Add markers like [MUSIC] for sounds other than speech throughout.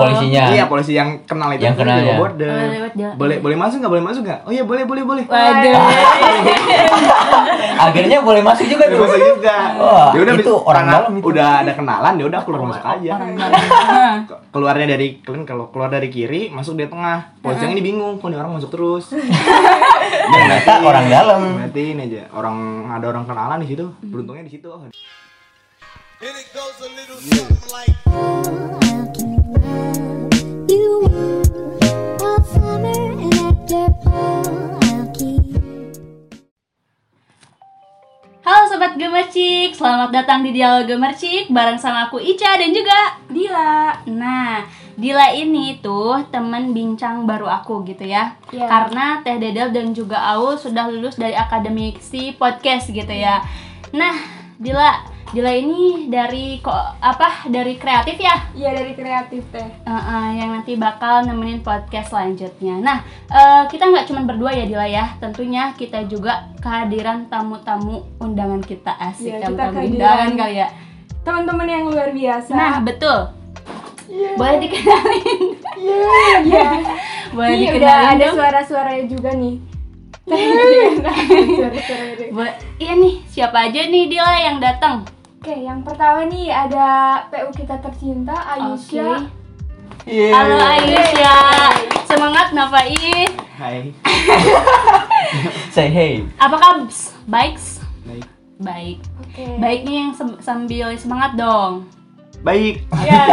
polisinya Iya polisi yang kenal itu Kan. Yang kan kenal, juga ya. border. Oh, lewat jalan. Boleh boleh masuk nggak boleh masuk nggak? Oh iya boleh boleh boleh. Waduh. akhirnya boleh masuk juga Boleh tuh masuk juga. Wah, Ya udah itu abis- orang karena dalam itu. Udah ada kenalan, ya udah keluar masuk aja. Nah, Ke- Keluarnya dari kalian kalau keluar dari kiri masuk dari tengah. Polisi yang ini bingung, kok ini orang masuk [LAUGHS] terus. ternyata "Ah, orang dalam Matiin aja. Orang ada orang kenalan di situ. Beruntungnya di situ. Oh, And it goes a little something like. Halo Sobat Gemercik, selamat datang di Dialog Gemercik bareng sama aku Ica dan juga Dila Nah, Dila ini tuh temen bincang baru aku gitu ya Iya. Karena Teh Dedel dan juga Aul sudah lulus dari Akademiksi Podcast gitu ya Nah, Dila, Dila ini dari kok apa dari kreatif ya? Iya dari kreatif teh. Uh-uh, yang nanti bakal nemenin podcast selanjutnya. Nah, eh, kita nggak cuma berdua ya Dila ya, tentunya kita juga kehadiran tamu-tamu undangan kita asik Iya, kita tamu-tamu kehadiran. undangan kali ya. Teman-teman yang luar biasa. [LAUGHS] Nah, betul. Boleh dikenalin, iya. Iya. boleh Nih, dikenalin udah ada dong. suara-suaranya juga nih. Teh, [LAUGHS] nah, suara-suaranya deh. Bo- iya nih, siapa aja nih Dila yang datang? Oke, yang pertama nih ada PU kita tercinta Ayusya. Oke. Iya. Halo Aisyah, semangat Nafai. Hai. say hey Apa kabar? Baik, Baik. baik, Oke. baik nih yang sem- sambil semangat dong. Baik. [LAUGHS] Ya.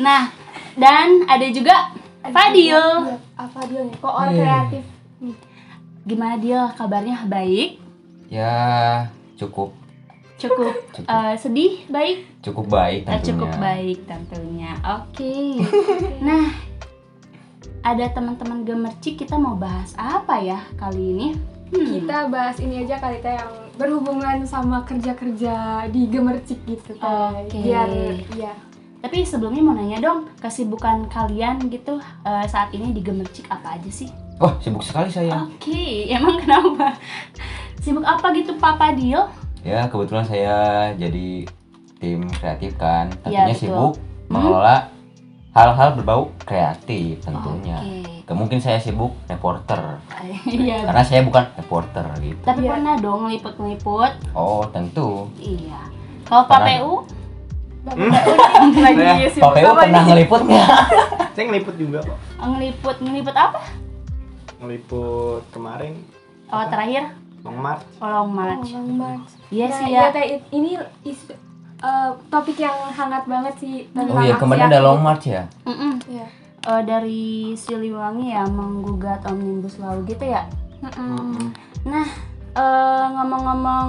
Nah, dan ada juga Fadil. Iya, Ah, Fadil nih, kok orang kreatif. Nih. Gimana Dil? Kabarnya baik? ya cukup Cukup Cukup. eh, sedih baik? cukup baik Ya, Eh, tentunya Cukup baik tentunya. Oke. nah, ada teman-teman gemercik kita mau bahas apa ya kali ini? Hmm, Kita bahas ini aja kali teh yang berhubungan sama kerja-kerja di gemercik gitu teh. Oke. Biar iya. Tapi sebelumnya mau nanya dong, kesibukan kalian gitu eh, saat ini di gemercik apa aja sih? wah sibuk sekali saya Oke, emang kenapa? Sibuk apa gitu Papa Dil? ya kebetulan saya jadi tim kreatif kan Iya, Ya, tentunya betul. sibuk Mhm. mengelola hal-hal berbau kreatif tentunya Oke. Gak mungkin saya sibuk reporter Iya. karena saya bukan reporter gitu Tapi Iya. pernah dong ngeliput-ngeliput oh tentu Iya. Kalau Pernah. Eh, PPU Hmm? Bagus. [LAUGHS] Saya- sibuk Pak PU apa pernah nih? ngeliput nggak Saya ngeliput juga kok. ngeliput ngeliput apa? Ngeliput kemarin. Oh, terakhir Long March. Long Oh, March. Bang March. Iya Nah, sih iya, ya. Teh, it- ini is- eh, topik yang hangat banget sih tentang oh iya aksi kemarin ada aktif. long march ya Mm-mm. Iya. Eh, dari Siliwangi ya menggugat omnibus law gitu ya. Mm-mm. Nah, eh, ngomong-ngomong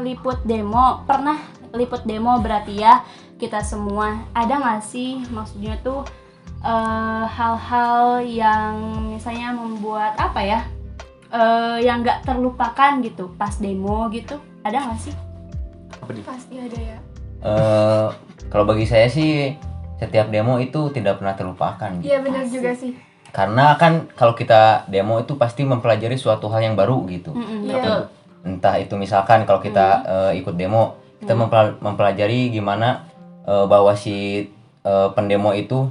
liput demo, pernah liput demo berarti ya kita semua ada nggak sih maksudnya tuh eh, hal-hal yang misalnya membuat apa ya eh, yang nggak terlupakan gitu pas demo gitu ada nggak sih? Apa di? Pasti ada ya. eh kalau bagi saya sih setiap demo itu tidak pernah terlupakan gitu. Iya benar juga sih. karena kan kalau kita demo itu pasti mempelajari suatu hal yang baru gitu Mm-mm, Iya. betul. entah itu misalkan kalau kita Hmm. eh, ikut demo kita mempel- mempelajari gimana eh, bahwa si eh, pendemo itu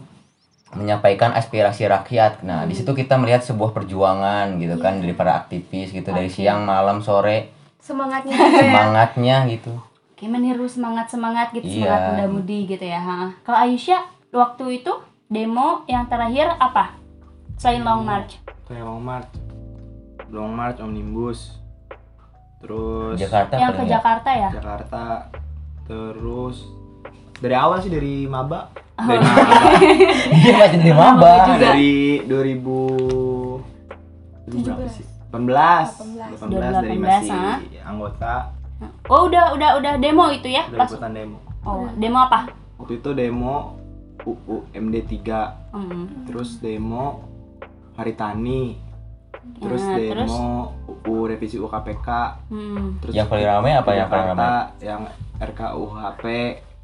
menyampaikan aspirasi rakyat nah Hmm. di situ kita melihat sebuah perjuangan gitu kan Iya. dari para aktivis gitu dari siang malam sore [LAUGHS] [LAUGHS] Semangatnya juga ya. semangatnya gitu Kayak meniru semangat-semangat gitu, Iya. semangat muda-mudi gitu ya. ha. Kalau Aisyah waktu itu demo yang terakhir apa? Selain Long March. Kayak Long March. Long March Omnibus. Terus Jakarta yang ke paling ya. Jakarta ya? Jakarta terus dari awal sih dari maba dari [LAUGHS] maba [LAUGHS] Nah, Iya masih di maba Maba Oh. juga. dari 2000 berapa sih? 18 18 dari 2018, masih ah. anggota Oh udah udah udah demo itu ya? dari Pas, ikutan demo oh demo apa? waktu itu demo UU MD3 Hmm. terus demo Hari Tani terus Nah, terus? demo UU revisi UKPK hmm. terus yang paling ramai apa ya, ke yang paling Jakarta ramai yang RKUHP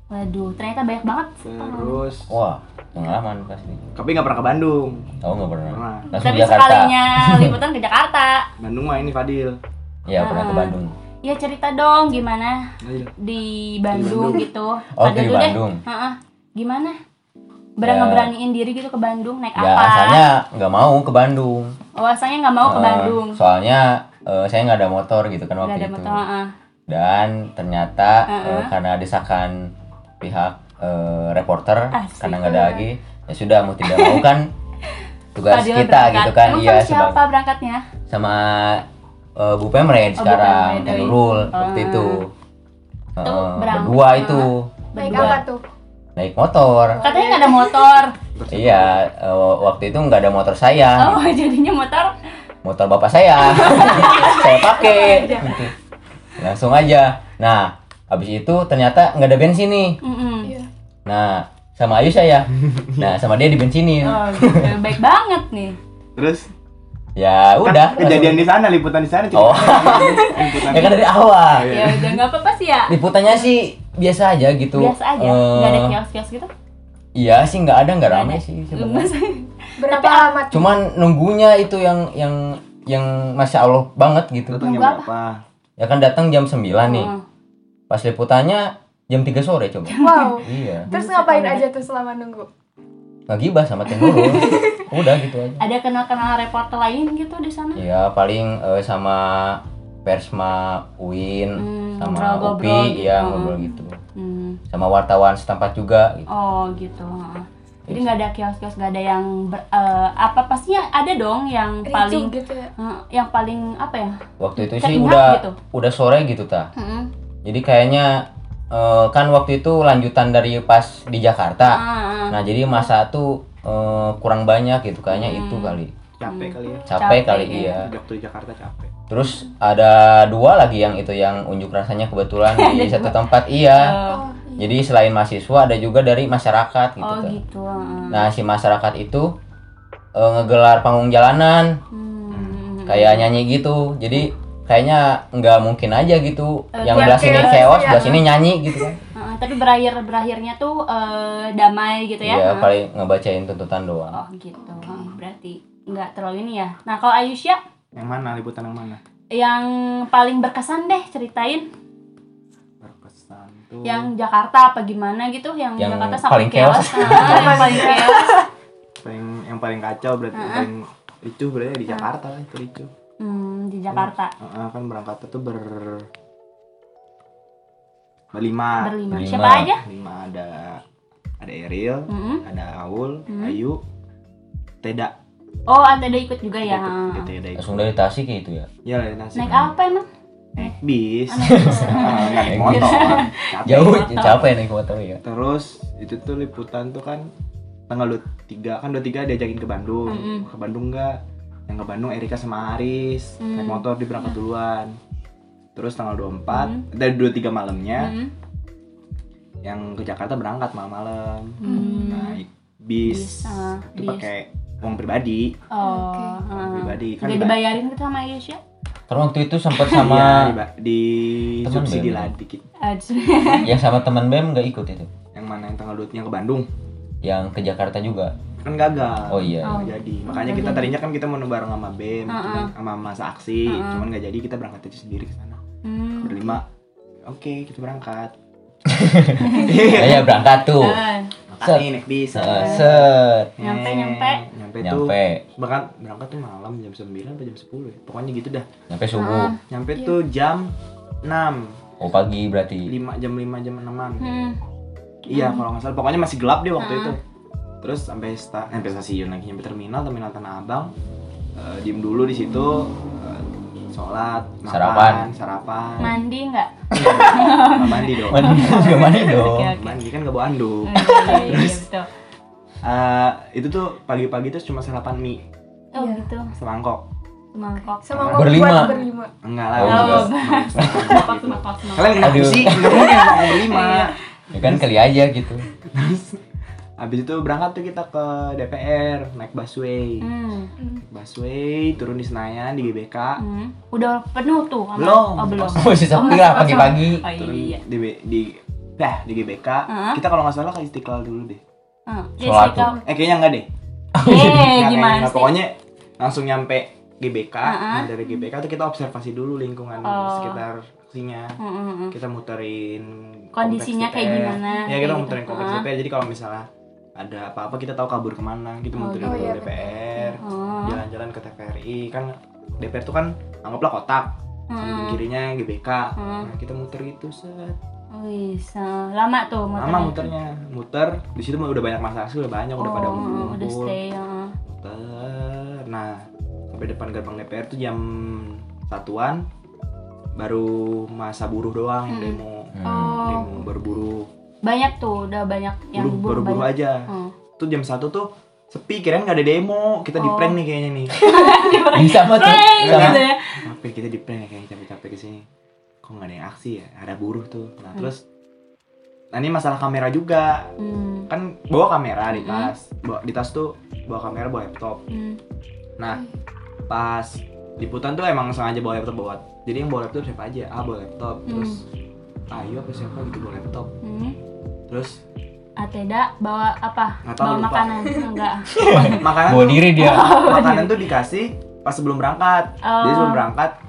Waduh ternyata banyak banget. terus Oh. Wah, pengalaman pasti. tapi nggak pernah ke Bandung Tahu nggak pernah? Pernah. Langsung Tapi ke Jakarta. [LAUGHS] sekalinya liputan ke Jakarta. Bandung mah ini Fadil Iya, pernah ke Bandung. Ya cerita dong gimana Fadil. di Bandung, Bandung. gitu. Oh, Ada di dulu deh. Bandung. Ha-ha. Gimana? Ya. berani ngeberaniin diri gitu ke Bandung naik Ya apa? asalnya nggak mau ke Bandung. Oh, asalnya nggak mau ke Eh, Bandung. Soalnya eh, saya nggak ada motor gitu kan Nggak waktu ada itu. motor. ah. Dan ternyata eh, Heeh. karena desakan pihak eh, reporter Asik. karena nggak ada lagi, ya sudah mau tidak mau [LAUGHS] kan tugas Fadil kita berangkat. gitu kan Emang ya sama siapa berangkatnya? sama eh, Bu Pemred Oh, Bu sekarang Pemred, dan doi. Nurul waktu Ah. itu. Tuh, Eh, berangkat. berdua itu Naik Berdua. apa tuh? Hmm. naik motor. Katanya nggak ada [LAUGHS] motor. Iya, eh, waktu itu nggak ada motor saya, Oh, [LAUGHS] jadinya motor motor bapak [LAUGHS] saya. saya pakai. Iya, Langsung aja. Nah, habis itu ternyata nggak ada bensin nih. Mm-mm. Iya. Nah, sama Ayu saya. Nah, sama dia dibensinin. Oh, gitu. baik banget nih. Terus Ya kan udah. kejadian di sana liputan di sana Oh. [LAUGHS] liputan. ya kan dari awal. Iya. Ya udah nggak apa-apa sih ya. Liputannya sih biasa aja gitu. Biasa aja, Eh, nggak ada kios-kios gitu. Iya sih nggak ada nggak Nggak rame ada. sih sebenarnya. Lemes. Berapa Tapi- alamat? Cuman nunggunya itu yang yang yang masya Allah banget gitu. Datangnya Nunggu berapa? Ya kan datang jam 9 nih. Heeh. Pas liputannya jam 3 sore coba. [LAUGHS] Wow. iya. Terus ngapain aja tuh selama nunggu? Ngegibah sama Teh [LAUGHS] Nurul. Udah gitu aja. Ada kenal-kenal reporter lain gitu di sana? Iya paling eh, sama Persma Uin Hmm, sama ngobrol-ngobrol Upi ya gitu. ngobrol gitu. Hmm. Sama wartawan setempat juga gitu. Oh gitu. heeh. Jadi nggak ada kios-kios, nggak ada yang ber- eh, apa pastinya ada dong yang paling Ricu gitu ya. eh, yang paling apa ya? Waktu itu sih Keringat udah gitu. Hmm. udah sore gitu ta. Jadi kayaknya eh, kan waktu itu lanjutan dari pas di Jakarta. Ah, ah. Nah, jadi masa tuh eh, kurang banyak gitu kayaknya Hmm. itu kali. Capek kali ya. Capek, Capek, kali ya. iya. Waktu di Jakarta capek. Terus ada dua lagi yang itu yang unjuk rasanya kebetulan [LAUGHS] di satu tempat iya. Eh, Oh, iya. Jadi selain mahasiswa ada juga dari masyarakat gitu. oh Ta. gitu. heeh. Nah, si masyarakat itu eh, ngegelar panggung jalanan Hmm. kayak nyanyi gitu. Jadi kayaknya nggak mungkin aja gitu Eh, yang tiap belah sini chaos, chaos, iya. belah sini nyanyi gitu kan. Heeh, tapi berakhir berakhirnya tuh eh, damai gitu ya? Iya, Heeh. paling ngebacain tuntutan doang. Oh gitu. Heeh, berarti nggak terlalu ini ya. Nah kalau Ayusya Yang mana liputan yang mana? yang paling berkesan deh ceritain Berkesan tuh. yang Jakarta apa gimana gitu yang, Hmm. Yang Jakarta paling chaos. [LAUGHS] Heeh, yang paling chaos paling yang paling kacau berarti yang paling ricu berarti di Jakarta lah itu ricu. hmm, di Jakarta Heeh, kan berangkatnya tuh ber berlima. berlima Ah, Berlima. siapa aja Berlima ada ada Ariel, Mm-mm. ada Aul, Hmm. Ayu, Teda. oh Anda udah ikut juga ya Ikut- ikut Teda ikut. Langsung dari Tasik ya itu ya. Ya, dari Nasib. naik apa emang Naik bis. Oh, naik bis. [LAUGHS] Ah, nggak naik Naik motor. Capek. Jauh motor. capek naik motor ya. Terus itu tuh liputan tuh kan tanggal 23 kan 23 diajakin ke Bandung. Mm-mm. Ke Bandung enggak? Yang ke Bandung Erika sama Aris Mm. naik motor di berangkat duluan. Terus tanggal 24 Mm. dari Ya. 23 eh, malamnya Mm-mm. yang ke Jakarta berangkat malam-malam. Hmm. Naik bis. Bis, ah, itu bis. pakai uang pribadi, oh Oke. uang heeh. pribadi kan nggak diba- dibayarin gitu sama [LAUGHS] Ayusya Karena waktu itu [LAUGHS] sempat Iya, sama diba- di Temen subsidi BM. lah dikit. Aduh. yang ya, sama teman BEM nggak ikut itu. Yang mana yang tanggal 2 yang ke Bandung Yang ke Jakarta juga. kan gagal. Oh iya. Oh. nggak jadi makanya Nggak kita jadi. Ah, tadinya kan kita mau bareng sama BEM Heeh. cuman sama masa aksi Heeh. cuman nggak jadi kita berangkat aja sendiri ke sana Ah, Hmm. berlima oke kita berangkat [LAUGHS] Oh. Iya. Saya iya. Ya, berangkat tuh. [LAUGHS] Eh, makasih naik bis Iya. Eh, Set. Eh, Nyampe, nyampe. nyampe tuh Nyampe. bahkan berangkat tuh malam jam 9 atau jam 10 ya pokoknya gitu dah Nyampe Ah. subuh. nyampe Iya. tuh jam 6 Oh pagi berarti. 5 jam 5 jam 6an hmm. iya kalau nggak salah pokoknya masih gelap deh waktu itu terus sampai sta eh, sampai stasiun lagi sampai terminal terminal Tanah Abang Eh, diem dulu di situ eh, sholat makan, Sarapan. sarapan Iya, mandi nggak Nggak mandi dong Mandi juga [LAUGHS] mandi dong. Oke, oke. mandi kan gak bawa anduk Iya, iya, iya, betul. Eh, itu tuh pagi-pagi tuh cuma sarapan mie oh Iya. gitu semangkok mangkok Sama mau Berlima. buat berlima. enggak lah Oh, [LAUGHS] enggak. enggak. Semangkok, Mangkok, gitu. mangkok, Iya. mangkok. kalian kenapa Aduh. sih nggak mungkin mau [LAUGHS] berlima Ya kan kali aja gitu. [LAUGHS] habis itu berangkat tuh kita ke DPR naik busway Hmm. busway turun di Senayan di BBK Hmm. Udah penuh tuh sama- Belum. Oh, belum. Masih sepi Oh, lah masih pagi-pagi. Oh turun iya. di B- di dah di GBK Heeh. kita kalau nggak salah ke Istiqlal dulu deh Heeh. Sholat tuh. eh kayaknya [LAUGHS] nggak deh Eh, Nggak, gimana nggak. sih? pokoknya langsung nyampe GBK Heeh. Nah, dari GBK tuh kita observasi dulu lingkungan Oh. sekitar aksinya Mm, mm, mm. kita muterin Kondisinya kompleks kayak DPR. gimana? ya kita Kayak muterin gitu. kompleks Ah. DPR jadi kalau misalnya ada apa-apa kita tahu kabur kemana gitu Oh, menteri oh, dulu iya, DPR Oh. jalan-jalan ke TVRI kan DPR tuh kan anggaplah kotak samping Hmm. kirinya GBK Hmm. nah, kita muter itu set Wih, se- eh, lama tuh lama muternya muter di situ mah udah banyak masa aksi udah banyak udah pada ngumpul Oh, hmm, udah stay ya. muter nah sampai depan gerbang DPR tuh jam satuan baru masa buruh doang yang Hmm. demo Hmm. Oh, demo berburu banyak tuh udah banyak yang buruh buru berburu banyak. aja Hmm. tuh jam satu tuh sepi kirain nggak ada demo kita di Oh. prank nih kayaknya [LAUGHS] nih Hmm. Bisa mah tuh. Hey, Sama. gitu ya. Apa kita di prank ya kayaknya capek-capek kesini kok nggak ada yang aksi ya ada buruh tuh nah terus nah ini masalah kamera juga Hmm, kan bawa kamera di Hmm. tas bawa di tas tuh bawa kamera bawa laptop hmm. nah pas liputan tuh emang sengaja bawa laptop bawa jadi yang bawa laptop siapa aja ah bawa laptop Mm. terus ayo apa siapa gitu bawa laptop Hmm. terus Ateda bawa apa? Nggak tahu, bawa lupa. makanan [LAUGHS] enggak? Oh, makanan Bawa diri [LAUGHS] dia. makanan tuh dikasih pas sebelum berangkat jadi sebelum berangkat eh,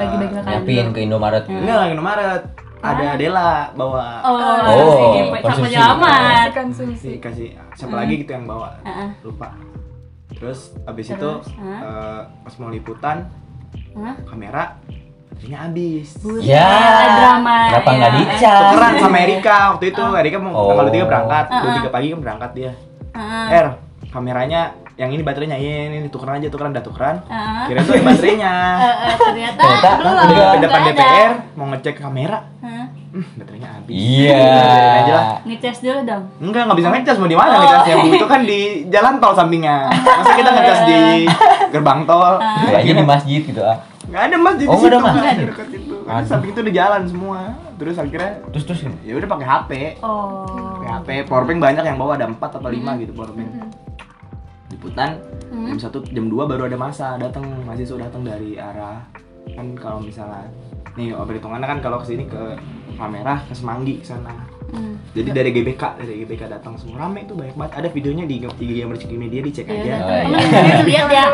Bagi-bagi makanan. Nyiapin ke Indomaret. Hmm. Enggak, lagi Indomaret. Ada Dela bawa Oh, kan, Oh, si gepe- sama konsumsi. jamat. Masih konsumsi. dikasih siapa Hmm. lagi gitu yang bawa. Heeh. Lupa. Terus abis itu Terus, ah, hah? eh, pas mau liputan Hah? kamera baterainya habis. Buset, Ya. drama. Kenapa nggak ya. dicas? Tukeran sama Erika waktu itu. Erika mau Oh. Ah. tanggal 3 berangkat, Uh-uh. 23 pagi kan berangkat dia. Heeh, Er, kameranya yang ini baterainya Iya, ini, ini tukeran aja tukeran udah tukeran. Ah. heeh. Kira tuh ada [LAUGHS] baterainya. ah. Eh, eh, ternyata Ternyata belum enggak. Ke nggak depan ada. DPR mau ngecek kamera, Heeh. hmm, baterainya habis. Iya. Biarin aja lah. Ngecas dulu dong. Enggak, nggak bisa ngecas mau di Oh. mana ngecasnya Bu? Itu kan di jalan tol sampingnya. Masa kita ngecas [LAUGHS] di Ah. gerbang tol? Kira aja di masjid gitu ah. Nggak ada mas di Oh, nggak ada, situ, Mas. nggak ada dekat situ. Karena Aduh. samping itu udah jalan semua. Terus akhirnya Terus terus. ya udah pakai HP. Oh. Pakai HP, powerbank banyak yang bawa ada 4 atau 5 Hmm. gitu powerbank. Iya, Liputan jam satu jam 2 baru ada masa datang mahasiswa datang dari arah kan kalau misalnya nih oh, perhitungannya kan kalau kesini ke Palmerah ke Semanggi ke sana Hmm. Jadi dari GBK, dari GBK datang semua rame itu banyak banget. Ada videonya di IG yang Rezeki Media dicek aja. Iya, udah. Oh, Temen iya. temen lihat ya.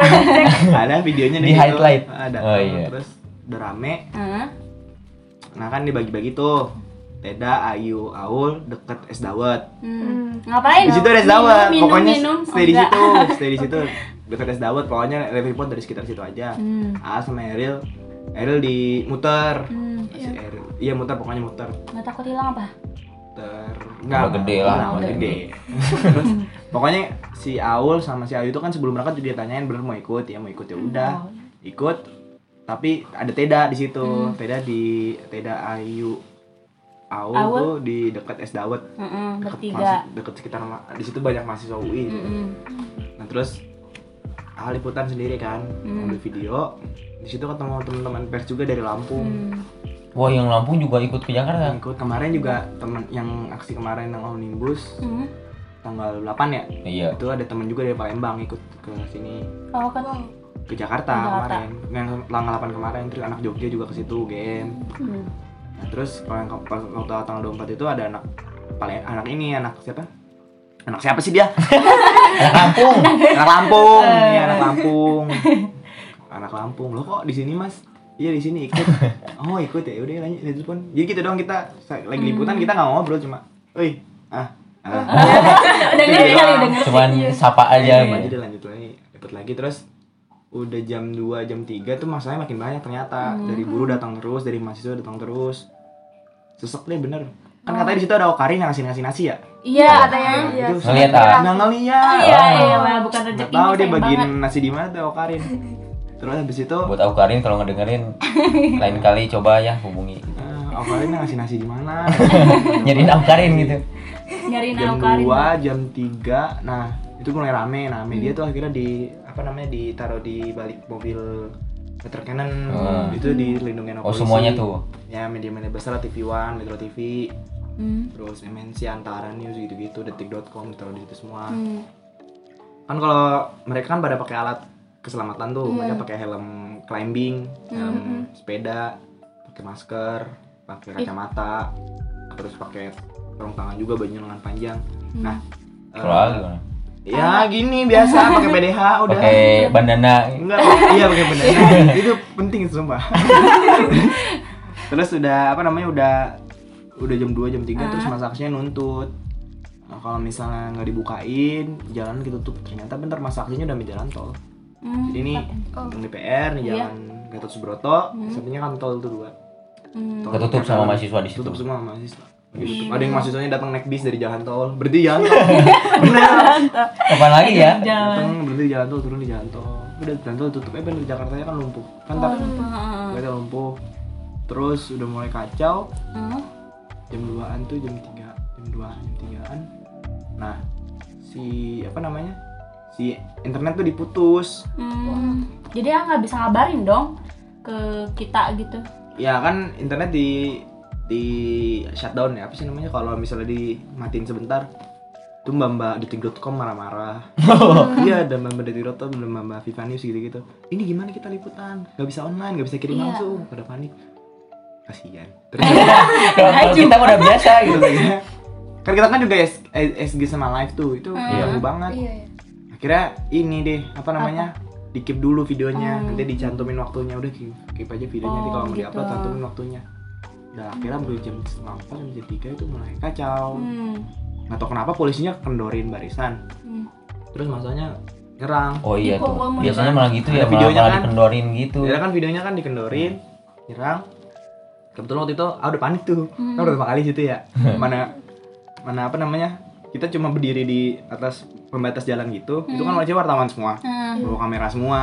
[LAUGHS] Ada videonya Di situ. highlight. Ah, Ada. Oh, iya. Terus udah rame. Heeh. Nah kan dibagi-bagi tuh. Teda, Ayu, Aul deket Es Dawet. Hmm. Ngapain? Di situ ada Es Minum, Dawet. minum, Pokoknya minum. stay Oh, di enggak. [LAUGHS] situ, stay di situ. Deket Es Dawet. Pokoknya level point dari sekitar situ aja. Hmm. A sama Eril, Eril di muter. Hmm. Si Eril. Iya muter, pokoknya muter. Nggak takut hilang apa? ter Udah nggak gede lah, nggak, udah udah gede [LAUGHS] terus pokoknya si Aul sama si Ayu itu kan sebelum berangkat dia tanyain bener mau ikut ya mau ikut ya udah Hmm. ikut tapi ada Teda di situ Hmm. Teda di Teda Ayu Aul, Aul. tuh di dekat Es Dawet Heeh, Deket bertiga. Hmm. mahasi- deket sekitar ma- di situ banyak mahasiswa UI gitu. Mm-mm. nah terus Aul liputan sendiri kan Hmm. ambil video di situ ketemu teman-teman pers juga dari Lampung Hmm. Wah, yang Lampung juga ikut ke Jakarta. Yang ikut kemarin juga teman yang aksi kemarin yang omnibus Hmm. tanggal 8 ya Iya. itu ada temen juga dari Palembang ikut ke sini Oh kan iya. Om. ke Jakarta Ke Jakarta. kemarin yang tanggal 8 kemarin terus anak Jogja juga ke situ game Hmm. nah, terus kalau yang ke- pas waktu tanggal 24 itu ada anak paling anak ini anak siapa anak siapa sih dia Anak Lampung. anak Lampung iya anak Lampung anak Lampung lo kok di sini mas iya di sini ikut oh ikut ya udah lanjut lanjut pun jadi gitu dong kita sa- lagi liputan kita nggak ngobrol cuma wih ah ah Udah ngerti kali udah ngerti. Iya. Cuman sapa aja [LAUGHS] Iya, gitu. jadi lanjut lagi dapat lagi terus udah jam 2 jam 3 tuh masalahnya makin banyak ternyata dari buruh datang terus dari mahasiswa datang terus sesek deh bener kan katanya di situ ada Okarin yang ngasih ngasih nasi ya Iya katanya. Nah, Iya. itu Ngeliat, saya Oh. ah? nggak ngeliat Oh iya iya Wah, bukan nggak tahu rezeki ini dia sayang bagiin banget. nasi di mana tuh Okarin terus habis itu Buat aku Karin kalau ngedengerin lain kali coba ya hubungi. ah, Okarin yang ngasih nasi di mana [LAUGHS] Nyariin aku Karin gitu. Nyariin jam Alkarin. 2, jam 3 nah itu mulai rame nah media tuh akhirnya di apa namanya ditaruh di balik mobil Peter Cannon Hmm. itu dilindungi sama Oh, polisi. semuanya tuh. ya media-media besar lah, TV One, Metro TV Hmm. terus MNC, Antara News gitu-gitu detik.com ditaruh di situ semua Hmm. kan kalau mereka kan pada pakai alat keselamatan tuh mereka pakai helm climbing helm sepeda pakai masker pakai kacamata terus pakai sarung tangan juga baju lengan panjang nah Kalau eh, aku gimana? Ya gini biasa pakai PDH udah. Pakai bandana. Enggak, [LAUGHS] iya pakai bandana. itu penting sumpah. Ah. Terus udah apa namanya udah udah jam 2 jam 3 terus masa aksinya nuntut Nah, kalau misalnya nggak dibukain, jalan ditutup. Ternyata bentar masa aksinya udah sampai jalan tol. Hmm, Jadi ini Oh. yang DPR, nih Iya. jalan Gatot Subroto, Hmm. satunya kan tol itu dua. hmm. Tol Ketutup DPR. sama mahasiswa di situ. Tutup semua sama mahasiswa. Gitu Iya. Ada yang mahasiswanya datang naik bis dari jalan tol, berarti [LAUGHS] jalan tol. Bener. Kapan lagi ya? Datang berarti di jalan tol, turun di jalan tol. Udah jalan tol tutup, eh bener Jakarta kan lumpuh. Kan ntar Oh. Heeh. Jakarta lumpuh. Terus udah mulai kacau, Heeh. jam 2-an tuh jam 3 jam 2 jam 3-an nah si apa namanya si internet tuh diputus Hmm. Jadi ya nggak bisa ngabarin dong ke kita gitu. ya kan internet di di shutdown ya apa sih namanya kalau misalnya dimatiin sebentar tuh mbak mbak detik.com marah-marah iya ada mbak mbak detik.com ada mbak mbak Viva News gitu-gitu ini gimana kita liputan nggak bisa online nggak bisa kirim Iya. langsung pada panik kasihan terus [LAUGHS] Kalau kalau kita udah biasa gitu. akhirnya- kan kita kan juga S- SG sama live tuh itu Iya. ganggu banget Iya, iya. akhirnya ini deh apa namanya dikip dulu videonya nanti dicantumin waktunya udah keep, keep aja videonya nanti Oh, kalau mau gitu. diupload cantumin waktunya udah akhirnya baru jam setengah empat jam tiga itu mulai kacau Hmm. nggak tau kenapa polisinya kendorin barisan Hmm. terus masanya nyerang Oh iya tuh. Dipukul mulu. Biasanya malah gitu ya, Ada malah, videonya malah kan? dikendorin gitu. ya kan videonya kan dikendorin nyerang kebetulan waktu itu ah udah panik tuh Hmm. kan udah pertama kali situ ya [LAUGHS] mana mana apa namanya kita cuma berdiri di atas pembatas jalan gitu itu kan wajah wartawan semua Hmm. bawa kamera semua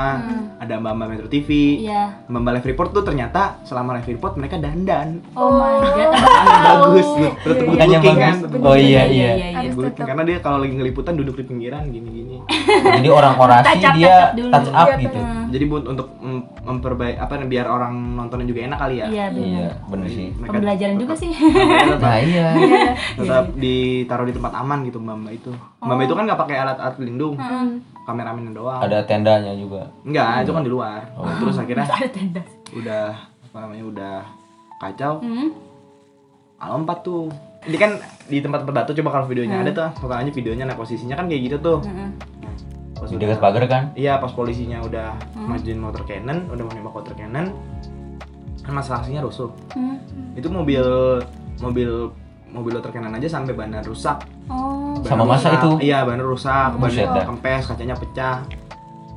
ada mbak mbak Metro TV Iya. mbak mbak Live Report tuh ternyata selama Live Report mereka dandan Oh my god. Kan bagus good good Iya, good Bukannya looking kan bagus. Oh iya iya. Ada Good looking. tetap. karena dia kalau lagi ngeliputan duduk di pinggiran gini gini Hmm. Jadi orang orasi Touch up, touch dia up dulu. touch up Iya, gitu. jadi buat untuk memperbaik apa biar orang nontonnya juga enak kali ya Iya benar. Iya, bener sih. Mereka Pembelajaran juga tetap- sih. tetap- Nah, iya. [LAUGHS] tetap ditaruh di tempat aman gitu mbak mbak itu mbak Oh. mbak itu kan nggak pakai alat alat pelindung kameramennya doang Ada Oh. tendanya juga. Enggak, itu kan di luar. Terus akhirnya Ada tenda. udah apa namanya udah kacau. Hmm. Alompat tuh. Ini kan di tempat tempat batu coba kalau videonya Hmm. ada tuh, totalnya videonya nah posisinya kan kayak gitu tuh. Heeh. Pas Di udah- dekat pagar kan? Iya, pas polisinya udah Hmm. majuin motor cannon, udah mau nembak motor cannon. Kan masa aksinya rusuh. Hmm. Itu mobil mobil mobil motor cannon aja sampai bandar rusak. Oh. Ban Sama masa rusak. itu? Iya, ban rusak, ban Buset dah. kempes, kacanya pecah.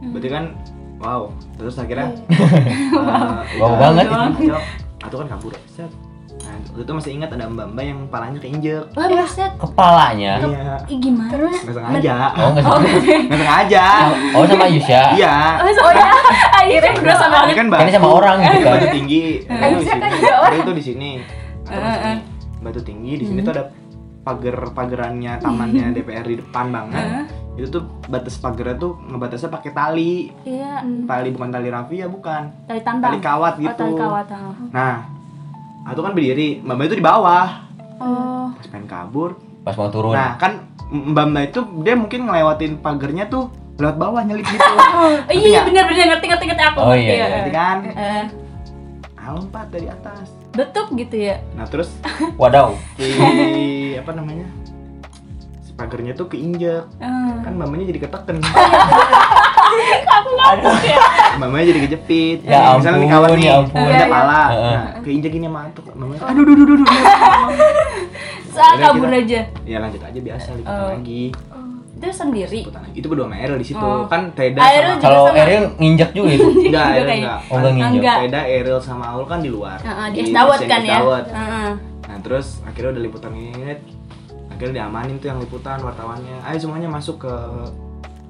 hmm. Berarti kan wow. Terus akhirnya eh, Wow itu- banget. itu kacau. Atau kan kabur. ya, Set. Nah, waktu itu masih ingat ada mbak-mbak yang palanya keinjek. Wah, buset. Kepalanya. Iya. Ih, gimana? iya. Nggak sengaja. Oh enggak sama. Nggak sengaja. Oh sama Yusya. Iya. Oh ya, akhirnya berasa Ini banget. kan Kan batu. sama orang gitu kan. Batu tinggi. Nah, itu di Bisa kan sini. juga orang. Ada itu di sini. Atau di sini. Batu tinggi di sini tuh ada pagar-pagerannya tamannya DPR di depan banget. Itu tuh batas pagarnya tuh ngebatasnya pakai tali. Iya, Tali bukan tali rafia bukan. tali tambang. Tali kawat Oh, gitu. tali kawat. ah. Nah, itu kan berdiri, mbak mbak itu di bawah, Oh. pas pengen kabur. Pas mau turun. Nah, kan mbak mbak itu dia mungkin ngelewatin pagernya tuh lewat bawah nyelip gitu. [LAUGHS] Oh, iya, iya benar benar ngerti ngerti ngerti aku. Oh, iya, Iya. iya. Jadi kan, Eh, ah, lompat dari atas. betuk gitu ya. Nah, terus Wadaw. [LAUGHS] si apa namanya? Si pagernya tuh keinjek. Eh, Kan mamanya jadi [LAUGHS] keteken. Aduh. Ya, mamanya jadi kejepit. Ya Misalnya nih ampun, kawan nih, ya ampun. punya Iya, pala. iya. Nah, keinjek ini mantuk. Mamanya, aduh, duh, duh, duh, duh. Saat Akhirnya kabur kita- aja. Ya lanjut aja biasa liputan Oh. lagi. Itu sendiri. Liputan lagi. Itu berdua sama Eril di situ. Oh. Kan Teda Airul sama juga Kalau sama. Ariel nginjek juga itu. Enggak, Juga Eril kayak- enggak. Oh enggak nginjek. Enggak. Beda Eril sama Aul kan di luar. Heeh, di Di es dawet Pasien kan ya. Dawet. Heeh. Nah, terus akhirnya udah liputan ini. Akhirnya diamanin tuh yang liputan wartawannya. Ayo semuanya masuk ke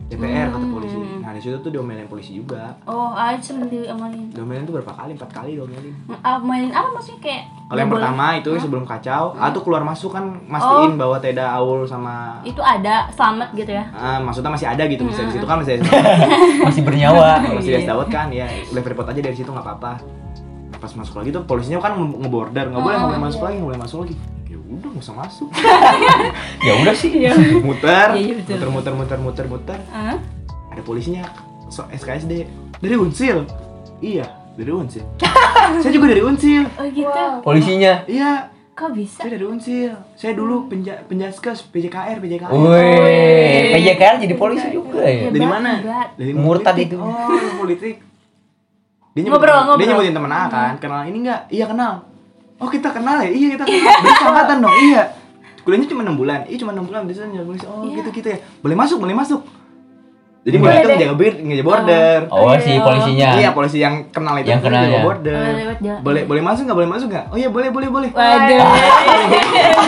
DPR kata Hmm. polisi. Nah, di situ tuh diomelin polisi juga. Oh, aja sendiri amalin. Diomelin tuh berapa kali? Empat kali diomelin. Amalin apa maksudnya kayak Kalau yang nggak boleh- pertama itu sebelum kacau, Hmm. ah tuh keluar masuk kan mastiin Oh. bahwa Teda Aul sama itu ada selamat gitu ya. Ah, maksudnya masih ada Hmm, gitu misalnya di situ kan masih Masih bernyawa. Iya. masih dia Dawet kan ya udah report aja dari situ nggak apa-apa Nah, pas masuk lagi tuh polisinya kan nge- ngeborder nggak boleh nggak Oh, boleh iya. masuk lagi nggak boleh masuk lagi ya udah nggak usah [LAUGHS] masuk Ya udah sih. muter Iya, iya, betul. muter muter muter muter muter Heeh. ada polisinya so SKSD dari unsil iya dari [LAUGHS] unsil saya juga dari unsil Oh gitu. Wow. Polisinya. iya Kok bisa? saya dari unsil saya dulu penja penjaskes PJKR PJKR Woi, PJKR kan jadi polisi juga ya. dari Hebat, mana hebat. dari Murtad politik. [LAUGHS] itu. oh dari politik dia nyebutin, Ngobrol, ngobrol. dia nyebutin temen A kan kenal ini enggak iya kenal oh kita kenal ya iya kita kenal berarti angkatan dong iya kuliahnya cuma enam bulan iya cuma enam bulan biasanya nyari polisi oh Iya. gitu gitu ya boleh masuk boleh masuk jadi Boleh mereka tuh deh. menjaga bir ngejaga border Oh, si Iya. polisinya. iya polisi yang kenal itu Yang tuh kenal menjaga ya. border Oh, lewat jalan. boleh boleh masuk nggak boleh masuk nggak oh iya boleh boleh boleh Waduh. Oh,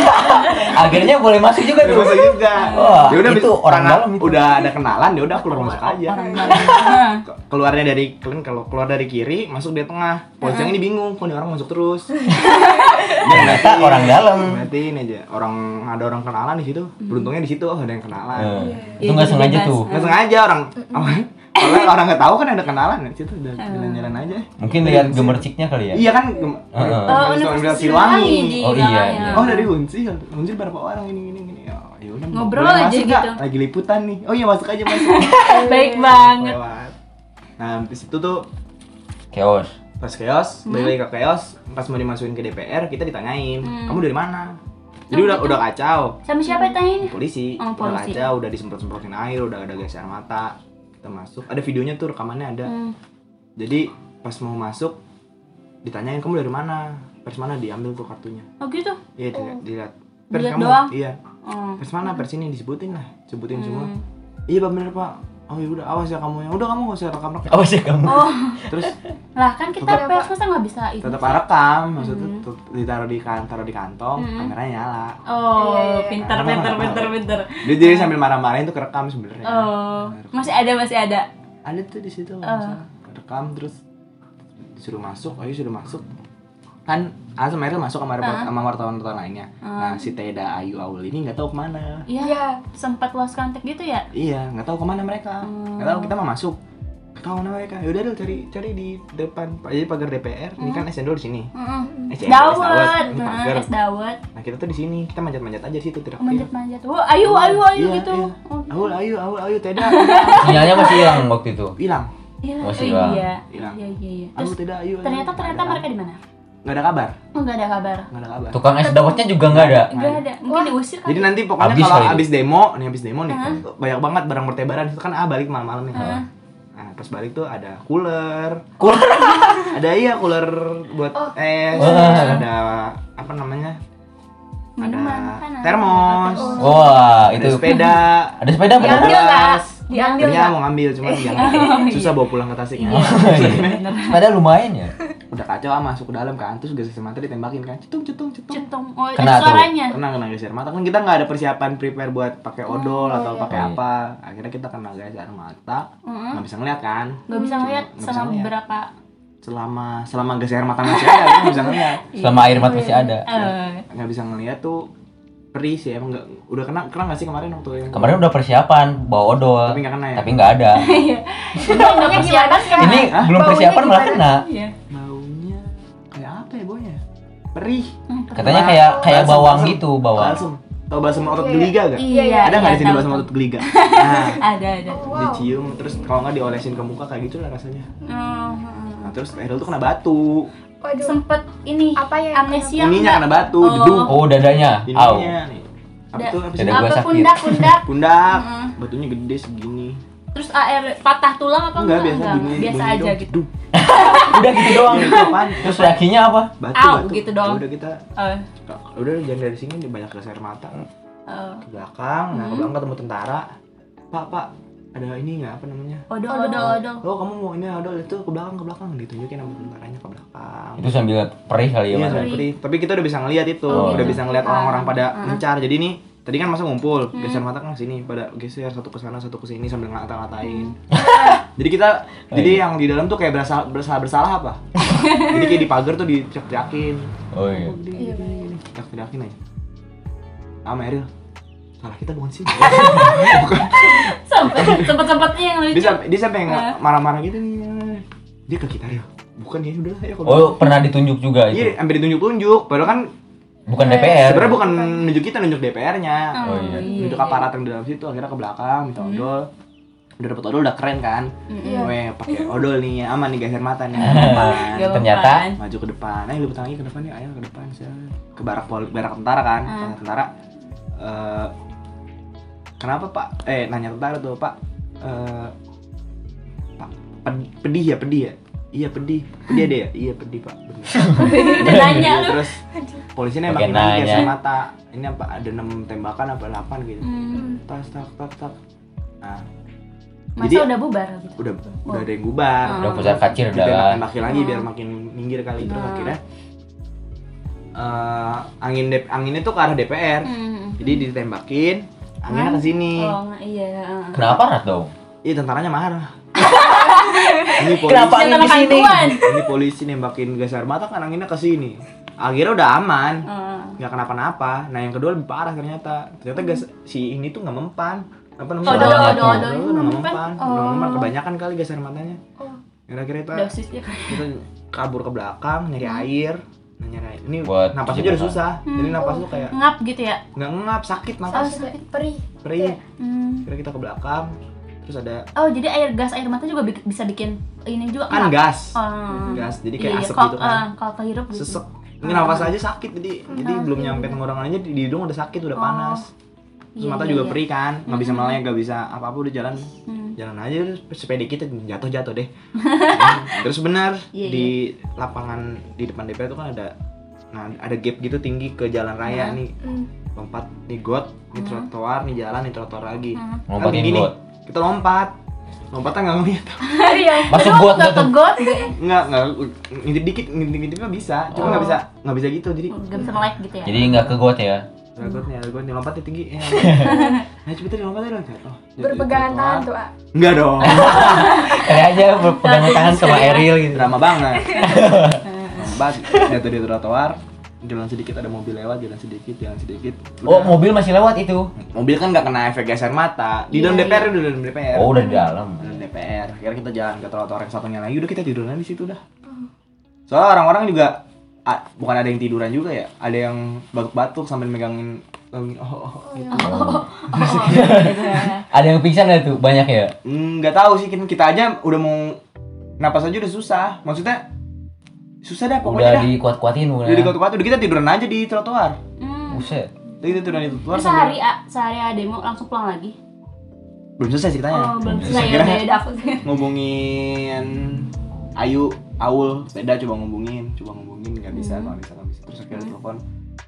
Akhirnya boleh masuk juga Boleh tuh. masuk juga Iya. Wah, ya udah itu habis orang karena dalam itu. udah ada kenalan ya udah keluar masuk aja Orang dalam. [LAUGHS] Ke- keluarnya dari kalian kalau keluar dari kiri masuk dari tengah polisi yang ini bingung kok ini orang masuk [LAUGHS] terus Ternyata [LAUGHS] orang dalam. Berarti ini aja orang ada orang kenalan di situ. Hmm. Beruntungnya di situ oh, ada yang kenalan. Eh, Iya, Itu nggak jadi sengaja bebas. tuh. Nggak sengaja orang kalau orang nggak tahu kan ada kenalan di situ udah jalan-jalan aja. Mungkin lihat gemerciknya kali ya. Iya kan Heeh. Oh, Universitas Universitas Siliwangi. Siliwangi Oh, di iya, belakangnya. iya. Oh dari Unsi, Unsi berapa orang ini ini ini. Oh, ya udah Ngobrol boleh aja masuk, gitu. Kak. Lagi liputan nih. Oh iya masuk aja masuk. [LAUGHS] Baik [LAUGHS] banget. Lewat. Nah, di situ tuh Chaos. pas chaos, Hmm? balik lagi ke chaos, pas mau dimasukin ke DPR kita ditanyain, Hmm. kamu dari mana? Jadi udah udah kacau. Sama siapa tanya? polisi, gitu? Oh, udah polisi. kaca, udah disemprot-semprotin air, udah ada geser mata. Kita masuk, ada videonya tuh rekamannya ada. Hmm. Jadi pas mau masuk ditanyain kamu dari mana? Pers mana diambil tuh kartunya. Oh gitu. Iya, dilihat, dilihat. Dilihat doang? Iya. Oh. Hmm. Pers mana? Pers ini disebutin lah, Mm. sebutin semua. Iya, Pak bener, Pak. Oh ya udah awas ya kamu ya. Udah kamu gak usah rekam-rekam. Apa sih kamu? Oh, Terus lah kan kita Tetap- pers masa nggak bisa itu. tetap sih? rekam, maksudnya tet- ditaruh di kantor di kantong, kameranya nyala. Iya, iya, Oh, iya. pinter, pinter, pinter, pinter. Dia jadi sambil marah-marahin tuh kerekam sebenarnya. Oh, masih ada, masih ada. ada tuh di situ kalau nggak salah. rekam terus disuruh masuk ayo suruh masuk kan Anas sama Eril masuk sama report- sama wartawan-wartawan lainnya nah si Teda Ayu Aul ini nggak tahu kemana Iya, Iya. sempat lost contact gitu ya? iya nggak tahu kemana mereka nggak tahu kita Hmm. mau masuk nggak tahu kemana mereka yaudah Ril, cari cari di depan jadi pagar DPR ini Hmm. kan SNDO di sini Mm-mm. Eh, cewek, Dawet, es dawet. Ini nah, pagar. es dawet, nah kita tuh di sini kita manjat-manjat aja di situ tidak manjat-manjat. Oh, Wah, ayu, ayu, ayu iya, gitu. Oh, Aul Ayu Aul Ayu Teda [LAUGHS] Sinyalnya masih hilang waktu itu. hilang Iya, Masih iya, hilang. iya, Hilang. iya, iya, iya. Aul Terus Teda Ayu Ayu. ternyata Nggak ternyata ada- mereka di mana? nggak ada kabar Oh, nggak ada kabar. nggak ada kabar Tukang es dawetnya juga nggak ada. Nggak ada. Mungkin diusir Jadi kali. nanti pokoknya Abis kalau kali itu. abis demo, nih abis demo nih, banyak banget barang bertebaran. Itu kan ah balik malam-malam nih. Nah, pas balik tuh ada cooler. Cooler. [LAUGHS] ada iya cooler buat Oh. es, terus ada apa namanya? Minuman, ada makanan. Oh. termos, Wah, ada itu sepeda, ada sepeda Iya. apa? Diambil nggak? gelas. Diambil Tadinya nggak? mau ngambil cuman Eh. [LAUGHS] Oh, jangan susah bawa pulang ke Tasiknya. Iya. sepeda lumayan ya. Udah kacau ah masuk ke dalam kan, terus gas air mata ditembakin kan. Cetung cetung cetung. Centong, oh, ada Kena tuh. suaranya. kena kena gas air mata kan kita nggak ada persiapan prepare buat pakai Hmm. odol atau Iya. pakai Iya. apa akhirnya kita kena gas air mata Mm-mm. nggak bisa ngeliat kan Nggak bisa ngeliat Nggak bisa selama ngeliat. berapa. selama selama gas air mata masih ada kita nggak bisa ngeliat Selama air mata masih ada. Eh, [LAUGHS] nggak bisa ngeliat tuh perih sih emang nggak udah kena kena nggak sih kemarin waktu yang Kemarin udah persiapan bawa odol, Tapi nggak kena ya? tapi nggak ada. Ini iya. nggak persiapan kan? Ini [LAUGHS] Hah? belum Baunya persiapan malah gimana? kena. Iya. baunya kayak apa ya baunya perih Katanya kayak kayak Balsem, bawang balsem. gitu, bawang. balsam tau balsam otot geliga gak Iya, ada nggak di iya, sini tahu, balsam tahu. otot [LAUGHS] geliga nah Ada, ada. dicium terus kalau nggak diolesin ke muka kayak gitu lah rasanya Hmm, hmm. nah terus Eril tuh kena batu Waduh. Sempet ini Apa ya? amnesia ininya nggak? kena batu Oh. dedu Oh, dadanya. Au. ininya nih apa Da- tuh apa sih Dada gua apa sakit. pundak pundak pundak Mm-mm. batunya gede segini terus AR patah tulang apa enggak biasa bunyi biasa bunyi aja dong, gitu duh. Udah gitu doang. Iya, [LAUGHS] apaan? Terus reaksinya apa? batu Au, batu gitu doang. Ya udah kita Eh, udah jangan dari sini dia banyak gas air mata eh, ke belakang nah ke belakang ketemu tentara pak pak ada ini nggak apa namanya odol odol odol oh kamu mau ini ada itu ke belakang ke belakang ditunjukin sama tentaranya ke belakang Itu sambil perih kali ya, Iya, Mas. sampai perih. Tapi kita udah bisa ngelihat itu, Oh, udah gitu. bisa ngelihat orang-orang pada mencar. Jadi nih, tadi kan masa ngumpul, geser mata kan sini, pada geser satu ke sana, satu ke sini sambil ngata-ngatain. [LAUGHS] jadi kita Oh, jadi iya. yang di dalam tuh kayak berasa bersalah bersalah apa? jadi kayak di pagar tuh diteriak-teriakin. Oh iya. Iya, bener. Teriak-teriakin aja. Ah, Meryl. Salah kita bukan sih. sempet sempet sempetnya yang lucu dia sampai dia sampai nge- marah-marah gitu nih. Dia ke kita, Ril. Bukan ya udah ya kalau Oh, pernah ditunjuk juga itu. Iya, hampir ditunjuk-tunjuk. Padahal kan Bukan DPR. Eh, sebenarnya bukan nunjuk kita, nunjuk DPR-nya. Iya. Oh iya. nunjuk aparat yang di dalam situ akhirnya ke belakang minta odol udah dapet odol udah keren kan Iya. weh pakai odol nih aman nih gas air mata nih aman. Gak Ternyata [LAUGHS] apa-apaan. maju ke depan ayo liput tangan lagi ke depan nih ayo ke depan saya ke barak pol- barak tentara kan Tanya tentara eh, kenapa pak eh nanya tentara tuh pak eh, pak ped- pedih ya pedih ya iya pedih pedih ada ya iya pedih pak bener Udah nanya lu. terus polisi Pakai nembakin lagi nanya. gas air mata ini apa ada enam tembakan apa delapan gitu Hmm. tas tak tak tak nah Masa Jadi- udah Oh. bubar gitu? udah udah ada yang bubar udah pusar kacir udah Gitu, lah ditembak-tembakin lagi biar makin minggir kali terus Oh. Nah. akhirnya eh, angin dep- anginnya tuh ke arah DPR Hmm. jadi ditembakin anginnya Hmm. ke sini Oh, nggak- iya. heeh. kenapa rat dong Ih tentaranya [LAUGHS] marah. ini polisi, Kenapa angin Jangan di sini? gangguan. ini polisi nembakin gas air mata kan anginnya ke sini. Akhirnya udah aman, Heeh. nggak kenapa-napa. Nah yang kedua lebih parah ternyata. Ternyata gas si ini tuh nggak mempan. Apa namanya? Hmm. Oh, do- Nggak do- mempan. do- Nggak ini nggak mempan. mempan. Nggak Oh. mempan kebanyakan kali gas air matanya. Oh. Akhirnya kita Dosisnya. kita kabur ke belakang nyari air. Nah, nyari air. Ini Buat napas cuci aja udah tangan. susah. Jadi Hmm. napas tuh kayak Ngap gitu ya? nggak ngap, sakit Oh, napas. sakit perih. iya. Perih. Hmm. Akhirnya kita ke belakang. Terus ada Oh, jadi air gas air mata juga bi- bisa bikin ini juga kan ngap. gas. Oh. Gas. Jadi kayak Iya, asap kalau- gitu kan. eh, kalau kehirup gitu. sesek ini nafas aja sakit jadi jadi belum nyampe tenggorokan aja di di hidung udah sakit udah Hmm. Oh. panas terus Iya, mata iya, juga iya. perih kan nggak bisa melek nggak bisa apa apa udah jalan Hmm. jalan aja terus sepeda kita jatuh jatuh deh terus benar Iya, di lapangan di depan DPR itu kan ada nah ada gap gitu tinggi ke jalan raya nih Hmm. lompat nih got nih trotoar nih jalan nih trotoar lagi Hmm. Kan Lompatin begini, got. kita lompat lompatnya nggak ngeliat Iya. Masuk Aduh, got nggak nggak tuh? kegot, nggak nggak ngintip dikit ngintip ngintipnya bisa cuma nggak bisa nggak bisa gitu jadi nggak bisa melek gitu ya. jadi nggak ke got ya Ragotnya, ragotnya lompatnya tinggi. Eh, nah, coba tadi lompatnya dong. Oh, jadi Berpegangan trotoar. tangan tuh, ah. Enggak dong. kali aja berpegangan tangan sama Iya. Ariel gitu Drama banget. Bas, jatuh di trotoar. Jalan sedikit ada mobil lewat, jalan sedikit, jalan sedikit. oh Udah. mobil masih lewat itu mobil kan nggak kena efek gas air mata. Di dalam DPR udah di dalam DPR. oh udah di [LAUGHS] dalam Di dalam DPR. Akhirnya kita jalan ke trotoar yang satunya lagi. Udah kita tiduran di situ dah. Soalnya orang-orang juga ah, bukan ada yang tiduran juga ya, ada yang batuk-batuk sambil megangin megangin- oh, oh, oh, gitu. Oh. [LAUGHS] Oh, gitu ya. ada yang pingsan nggak tuh banyak ya Mm, nggak tahu sih kita, kita aja udah mau napas aja udah susah maksudnya susah dah udah ya. pokoknya dah dikuat-kuatin udah di udah kuat udah kita tiduran aja di trotoar Hmm. buset udah kita tiduran di trotoar Terus sambil- sehari ah, sehari ah demo langsung pulang lagi. belum selesai ceritanya Oh, belum selesai ya Kira- udah udah aku. Gitu. ngomongin Ayu Aul sepeda coba ngomongin coba ngomongin nggak bisa nggak bisa nggak bisa terus akhirnya telepon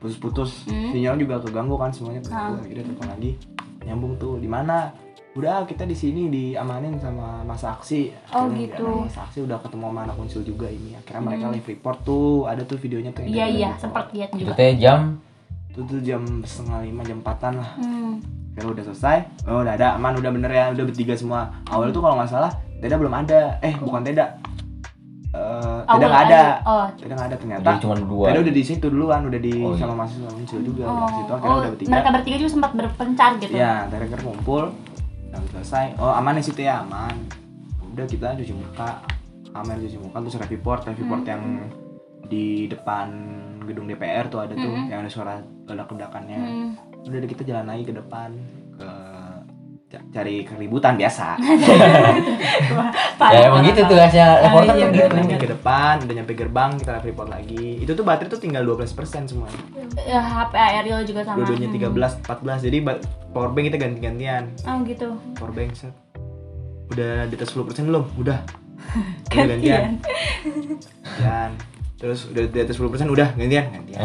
putus-putus Hmm. Ah. sinyal juga keganggu kan semuanya keganggu akhirnya telepon lagi nyambung tuh di mana udah kita di sini diamanin sama masa aksi Oh, Akhirnya gitu. Hmm. karena masa aksi udah ketemu sama anak unsil juga ini akhirnya mereka live report tuh ada tuh videonya tuh yang Iya live iya, report. sempat lihat itu juga. Gitu. teh jam itu tuh jam setengah lima jam empatan lah Hmm. kalau Ya udah selesai oh udah ada aman udah bener ya udah bertiga semua awal tuh kalau nggak salah Teda belum ada eh bukan Teda Eh, Teda Awal nggak ada aja. Oh, Teda nggak ada ternyata jadi cuma dua Teda udah di situ duluan udah di Oh, iya. sama mahasiswa muncul juga udah di oh, situ akhirnya oh, udah bertiga mereka bertiga juga sempat berpencar gitu. ya akhirnya kumpul udah selesai oh aman di situ ya aman udah kita cuci muka aman cuci muka terus rapid report rapid report Hmm. yang di depan gedung DPR tuh ada tuh Hmm. yang ada suara ledak-ledakannya Hmm. udah deh, kita jalan lagi ke depan ke ca- cari keributan biasa [LAUGHS] ya emang gitu tugasnya reporter iya, tuh udah gitu nyampe ke depan udah nyampe gerbang kita live report lagi itu tuh baterai tuh tinggal 12% semua Ya, HP Ariel juga sama. dua-duanya 13 14 jadi ba- power bank kita ganti-gantian Oh, gitu. power bank set udah di atas 10% belum udah Udah Gantian. gantian terus udah di atas 10% udah gantian gantian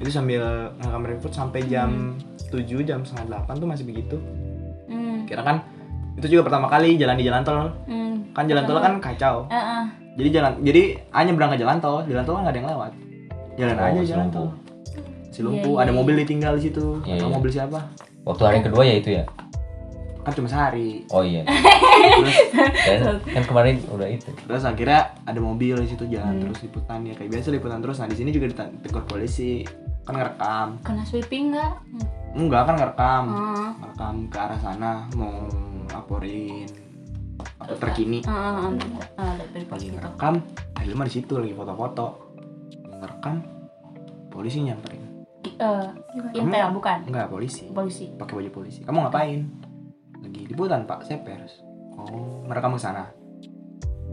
itu sambil ngerekam report sampai jam 7 jam setengah 8 tuh masih begitu Hmm. kira kan itu juga pertama kali jalan di jalan tol Hmm. kan jalan tol kan kacau Eh, eh. jadi jalan jadi hanya berangkat jalan tol jalan tol kan nggak ada yang lewat jalan Oh, aja si jalan lumpuh. tol si lumpuh Iya, ada iya, mobil ditinggal di situ Iya, Atau iya. mobil siapa waktu hari kedua ya itu ya kan cuma [LAUGHS] sehari oh iya terus Dan kan kemarin udah itu terus akhirnya ada mobil di situ Iya. jalan terus liputan ya kayak biasa liputan terus nah di sini juga ditegur polisi kan ngerekam Kena sweeping nggak? Hmm. enggak kan ngerekam Heeh. ngerekam ke arah sana mau laporin apa terkini Heeh, heeh. Ah, lihat dari lagi pagi gitu. ngerekam Adil mah di situ lagi foto-foto ngerekam polisi nyamperin Ki- eh, Intel bukan enggak polisi polisi. pakai baju polisi kamu ngapain lagi liputan pak saya pers oh merekam ke sana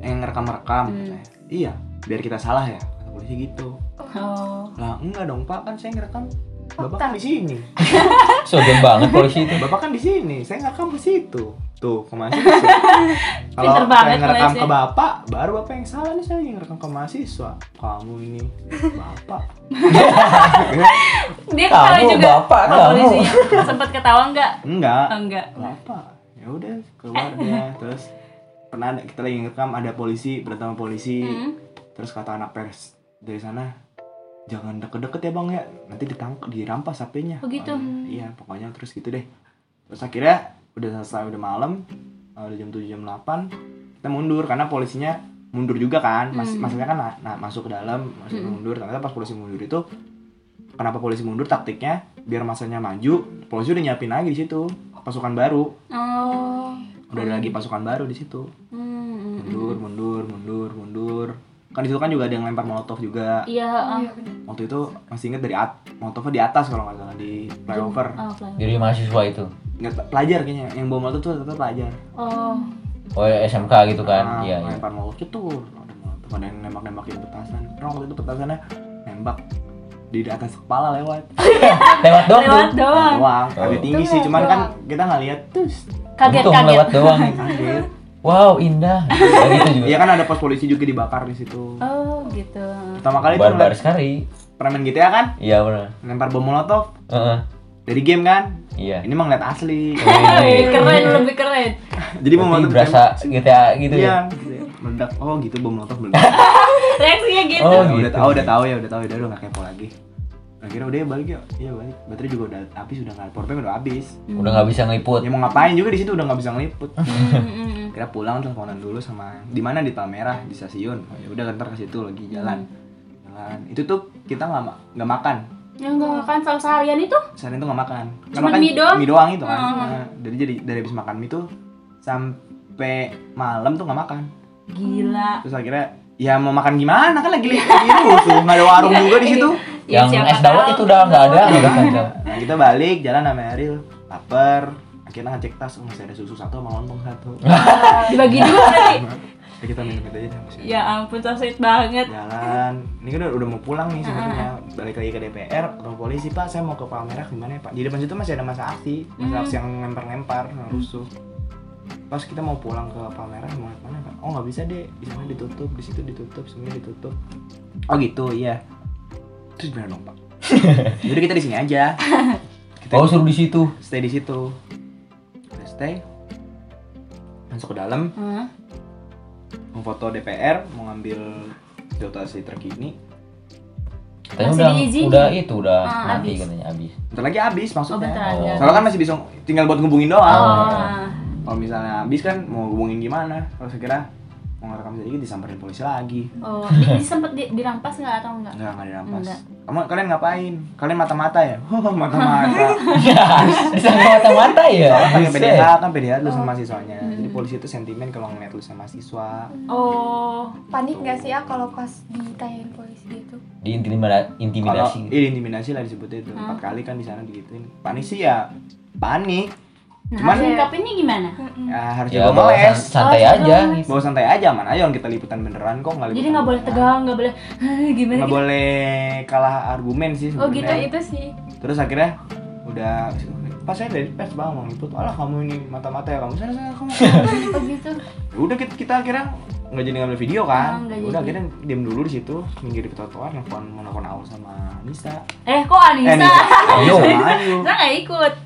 eh ngerekam merekam Hmm. katanya iya biar kita salah ya kata polisi gitu Oh. lah enggak dong pak kan saya ngerekam Bapak kan di sini. Sogen banget polisi [LAUGHS] itu. Bapak kan di sini. Saya nggak ke situ. Tuh, ke mahasiswa. Kalau Pinter saya banget ngerekam polisi. ke Bapak, baru Bapak yang salah nih saya yang ngerekam ke mahasiswa. Kamu ini, Bapak. Dia Kamu, ketawa juga. Bapak, sama kamu. polisinya. Sempet ketawa nggak? Enggak. Oh, enggak. Nah, Bapak. Ya udah, keluar [LAUGHS] dia. Terus pernah ada, kita lagi ngerekam ada polisi, berantem sama polisi. Hmm. Terus kata anak pers dari sana, jangan deket-deket ya bang ya, nanti ditangkap, dirampas HP-nya. Oh, gitu. iya, pokoknya terus gitu deh. Terus akhirnya udah selesai udah malam, eh, udah jam 7 jam 8 kita mundur karena polisinya mundur juga kan, mas Hmm. maksudnya kan na- nah, masuk ke dalam, masuk Hmm. mundur. Ternyata pas polisi mundur itu kenapa polisi mundur taktiknya biar masanya maju, polisi udah nyiapin lagi di situ pasukan baru, Oh. udah ada lagi pasukan baru di situ. Hmm, hmm, Mundur, hmm. mundur, mundur, mundur. Kan di situ kan juga ada yang lempar molotov juga Iya, Oh, ah. iya, bener. waktu itu masih inget dari at motornya di atas kalau nggak salah di flyover Oh, fly. Jadi mahasiswa itu. nggak pelajar kayaknya yang bawa motor tuh ternyata pelajar Oh. Oh ya, SMK gitu Ah, kan. Iya, iya. lempar molotov tuh ada molotov ada yang nembak nembakin petasan karena waktu itu petasannya nembak di atas kepala lewat Lewat doang. tuh. Lewat doang. doang Oh. agak tinggi sih Doang, cuman kan doang. kita nggak lihat terus Untung lewat Kaget-kaget. [LAUGHS] doang. kaget Wow, indah. Ya gitu juga. iya kan ada pos polisi juga dibakar di situ Oh, gitu. pertama kali itu Barbar ngeliat sekali. pernah main GTA kan Iya benar. lempar bom molotov Heeh. dari game kan Iya. ini mah ngeliat asli Eh. Wih, Iya. keren, lebih keren. [LAUGHS] jadi bom Oh. Berarti molotov berasa GTA gitu ya. iya meledak oh gitu bom molotov meledak Reaksinya gitu. Oh, Ya, gitu. udah tahu udah tahu ya udah tahu udah lu nggak kepo lagi akhirnya udah ya balik ya iya balik baterai juga udah habis udah nggak powerbank udah habis Iya. Udah nggak bisa ngeliput. ya mau ngapain juga di situ udah nggak bisa ngeliput Hmm, hmm, hmm. kira pulang teleponan dulu sama di mana di Palmerah di stasiun oh, ya udah ntar ke situ lagi jalan jalan itu tuh kita nggak ma- nggak makan Yang Ya nggak makan selama seharian itu? saat itu nggak makan Nggak Cuman makan mie doang? Oh. itu kan Nah, dari jadi dari habis makan mie tuh sampai malam tuh nggak makan Gila. terus akhirnya ya mau makan gimana kan lagi lagi [LAUGHS] rusuh nggak ada warung juga di situ Ya, Yang siapa es dawet tahu. Iya. itu udah nggak ada, udah nggak ada. Nah kita balik jalan sama Ariel lapar akhirnya ngecek tas oh, masih ada susu satu sama lontong [LAUGHS] satu Dibagi dua [LAUGHS] berarti. Jadi kita minum itu aja masih Ya ampun, so sweet banget. jalan ini kan udah, udah mau pulang nih Ah, sebenarnya balik lagi ke DPR ketemu polisi pak saya mau ke Palmerah gimana ya pak di depan situ masih ada masa aksi masa Hmm. aksi yang lempar-lempar yang rusuh pas kita mau pulang ke Palmerah mau liat mana pak oh nggak bisa deh di sana ditutup di situ ditutup semuanya ditutup oh gitu iya terus gimana [LAUGHS] dong pak jadi kita di sini aja kita Oh suruh di situ. stay di situ udah stay masuk ke dalam Hah? mau foto DPR mau ngambil situasi terkini Katanya Masih udah diizinin. udah itu udah Ah, nanti habis. katanya habis. [LAUGHS] bentar lagi habis Oh, bentar maksudnya ada. soalnya kan masih bisa tinggal buat ngubungin doang Oh. Ah. kalau misalnya habis kan mau hubungin gimana kalau sekira mau ngerekam sedikit disamperin polisi lagi Oh, di, [LAUGHS] di sempet di- dirampas nggak atau enggak? Enggak, enggak dirampas Enggak. Kamu, kalian ngapain? Kalian mata-mata ya? [LAUGHS] [LAUGHS] mata-mata Bisa mata-mata ya. Kan Buset. PDH, kan PDH lu Oh. sama mahasiswanya Jadi Hmm. polisi itu sentimen kalau ngeliat lu sama mahasiswa Oh, Panik gak sih ya kalau pas ditanyain polisi gitu? Diintimidasi. kalau intimidasi. gitu. iya, intimidasi lah disebutnya itu empat Hmm. kali kan di sana digituin panik sih ya panik nah Cuman- harus nyikapinnya gimana? Mm-mm. ya harus Ya jago bawa ngeles san- santai Oh, aja. ngeles. bawa santai aja mana ayo kita liputan beneran kok nggak Jadi liputan nggak boleh beneran. tegang, nggak boleh gimana nggak gitu. boleh kalah argumen sih Oh gitu Nah, sebenarnya. itu sih. terus akhirnya udah pas saya dari pers bang mau ngikut alah kamu ini mata-mata ya kamu sana [LAUGHS] sana kamu Oh gitu. udah kita, kita akhirnya nggak jadi ngambil video Ah, kan nggak udah jadi. akhirnya diem dulu di situ minggir di trotoar nelfon mau nelfon Aul sama Nisa Eh, kok eh Anissa? [LAUGHS] Nisa Aul sama Ayu Nisa nggak ikut. [LAUGHS]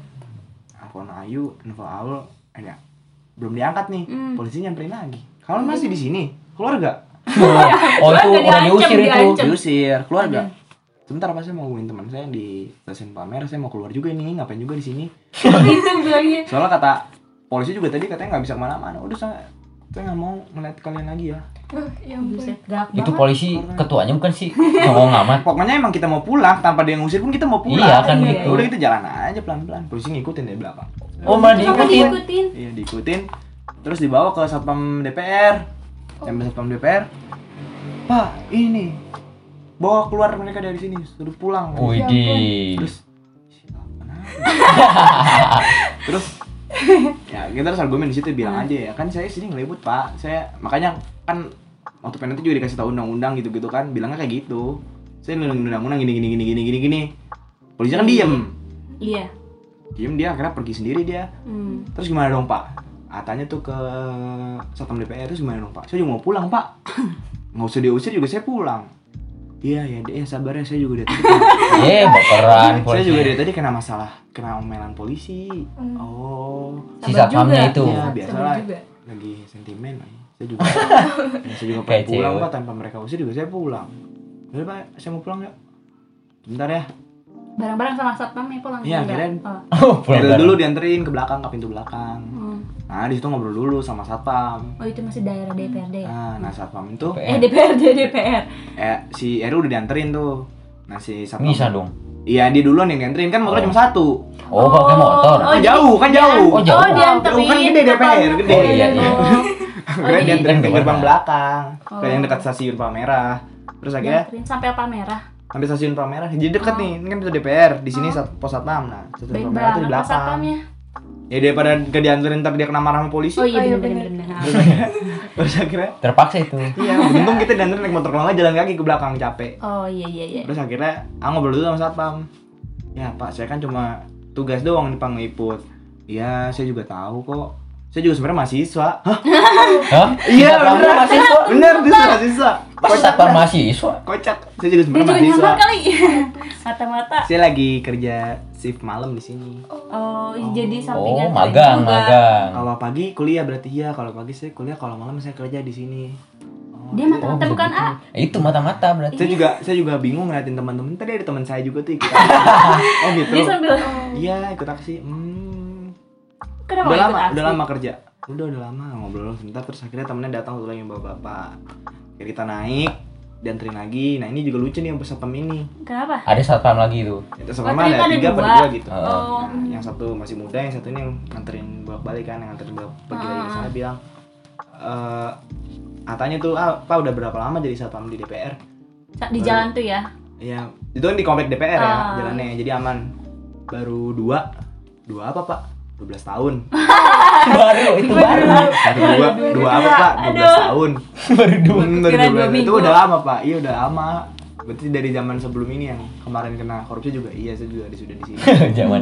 nelfon Ayu, nelfon Aul, eh enggak. belum diangkat nih, Hmm. polisi nyamperin lagi. Kalian masih di sini, keluar gak? [LAUGHS] Oh itu Diancam, udah diusir itu. diancam. Diusir, keluar gak? Sebentar pas saya mau hubungin teman saya di stasiun Palmerah, saya mau keluar juga ini, ngapain juga di sini? gitu Itu bilangnya. Soalnya kata polisi juga tadi katanya nggak bisa kemana-mana. Udah saya saya nggak mau ngeliat kalian lagi ya. Uh, ya ampun. Buset, galak Itu banget. polisi ketuanya bukan sih ngomong amat. Pokoknya emang kita mau pulang tanpa dia ngusir pun kita mau pulang. Iya kan Iya, gitu. Udah kita jalan aja pelan-pelan. Polisi ngikutin dari belakang. Oh malah Kenapa diikutin. diikutin? Iya diikutin terus dibawa ke satpam DPR. Sampai satpam DPR. Pak ini bawa keluar mereka dari sini suruh pulang. Oh, iya. Widih. Ya Terus "Silakan aja." terus ya kita harus argumen di situ bilang aja ya kan saya sini ngelibut pak saya makanya kan waktu penalti juga dikasih tahu undang-undang gitu-gitu kan bilangnya kayak gitu saya ngelindungin undang-undang gini gini gini gini gini gini polisi kan diem Iya. diem dia akhirnya pergi sendiri dia Hmm. terus gimana dong pak Atanya tuh ke satpam DPR terus gimana dong pak saya juga mau pulang [LAUGHS] pak nggak usah diusir juga saya pulang iya ya deh sabar ya saya juga dari [LAUGHS] tadi Eh, baperan saya juga polisi. dari tadi kena masalah kena omelan polisi oh Si satpamnya itu. Iya, biasa Sabar lah. juga. lagi sentimen lagi. saya [LAUGHS] juga ya, saya juga Kayak pengen pulang cewek. pak tanpa mereka usir juga saya pulang udah pak saya mau pulang yuk bentar ya Barang-barang sama satpam ya pulang. Iya, Enggak? kirain. [LAUGHS] Oh, Oh. Dari baperan. dulu dianterin ke belakang ke pintu belakang Hmm. nah di situ ngobrol dulu sama satpam Oh, itu masih daerah DPRD ya? nah, nah satpam itu Eh, Eh, DPRD, DPR. eh, si Eru udah dianterin tuh nah si satpam bisa dong. iya dia duluan yang dianterin kan motornya cuma satu Oh, pakai motor. Oh, kan jauh kan jauh Oh, jauh. Oh, dianterin. Kan gede DPR, gede. Oh, iya, iya. [LAUGHS] Oh, Akhirnya jadi- dianterin ke Kan gerbang gimana? belakang ke Oh. Iya. yang dekat stasiun Palmerah terus akhirnya dianterin sampai apa merah? sampai stasiun Palmerah jadi dekat nih ini kan itu DPR di sini Oh. sat- pos satpam nah stasiun Palmerah Baik tuh banget di pas belakang satpamnya. ya daripada gak dianterin ntar dia kena marah sama polisi Oh iya, Oh, iya, bener-bener. terus akhirnya, [LAUGHS] terus akhirnya Terpaksa itu. iya untung kita dianterin naik motor kalau nggak jalan kaki ke belakang capek Oh iya, iya, iya. terus akhirnya aku ngobrol dulu sama satpam ya pak saya kan cuma tugas doang di pangliput iya saya juga tahu kok saya juga sebenarnya mahasiswa Hah? Hah? iya Satpam bener mahasiswa. bener dia mahasiswa Kok kocak satpam dah. mahasiswa? Oh, kocak saya juga Dia sebenarnya juga mahasiswa nyamar kali. [LAUGHS] Mata-mata. saya lagi kerja shift malam di sini Oh, jadi Oh, sampingan. kalian magang, juga. magang. kalau pagi kuliah berarti iya kalau pagi saya kuliah kalau malam saya kerja di sini Oh. Gitu. Dia mata-mata bukan A. Eh, Itu mata-mata berarti. saya juga saya juga bingung ngeliatin teman-teman tadi ada teman saya juga tuh [LAUGHS] ikut oh gitu Dia sambil iya ikut aksi hmm kenapa gitu, udah ikut lama aksi? udah lama kerja udah udah lama ngobrol sebentar terus akhirnya temennya datang satu lagi yang bapak-bapak Akhirnya kita naik dianterin lagi nah ini juga lucu nih yang satpam ini Kenapa? Ada satpam lagi itu. itu Oh, satpam ternyata ada ada tiga apa dua. dua gitu Heeh. Oh. Nah, yang satu masih muda yang satu ini yang nganterin bolak balik kan yang nganterin bolak pergi Ah. lagi ke sana bilang eh Atanya tuh, ah, Pak udah berapa lama jadi satpam di DPR? Sa- Di jalan tuh ya. Ya, itu kan di komplek DPR ya Ah. jalannya, jadi aman. Baru dua, dua apa pak? 12 tahun. baru, itu baru. Baru dua, dua apa pak? 12 tahun. [LAUGHS] baru dua. Hmm, baru Kirain 12. dua Itu minggu. udah lama pak, iya udah lama. Berarti dari zaman sebelum ini yang kemarin kena korupsi juga, iya saya juga sudah [LAUGHS] di sini. Zaman.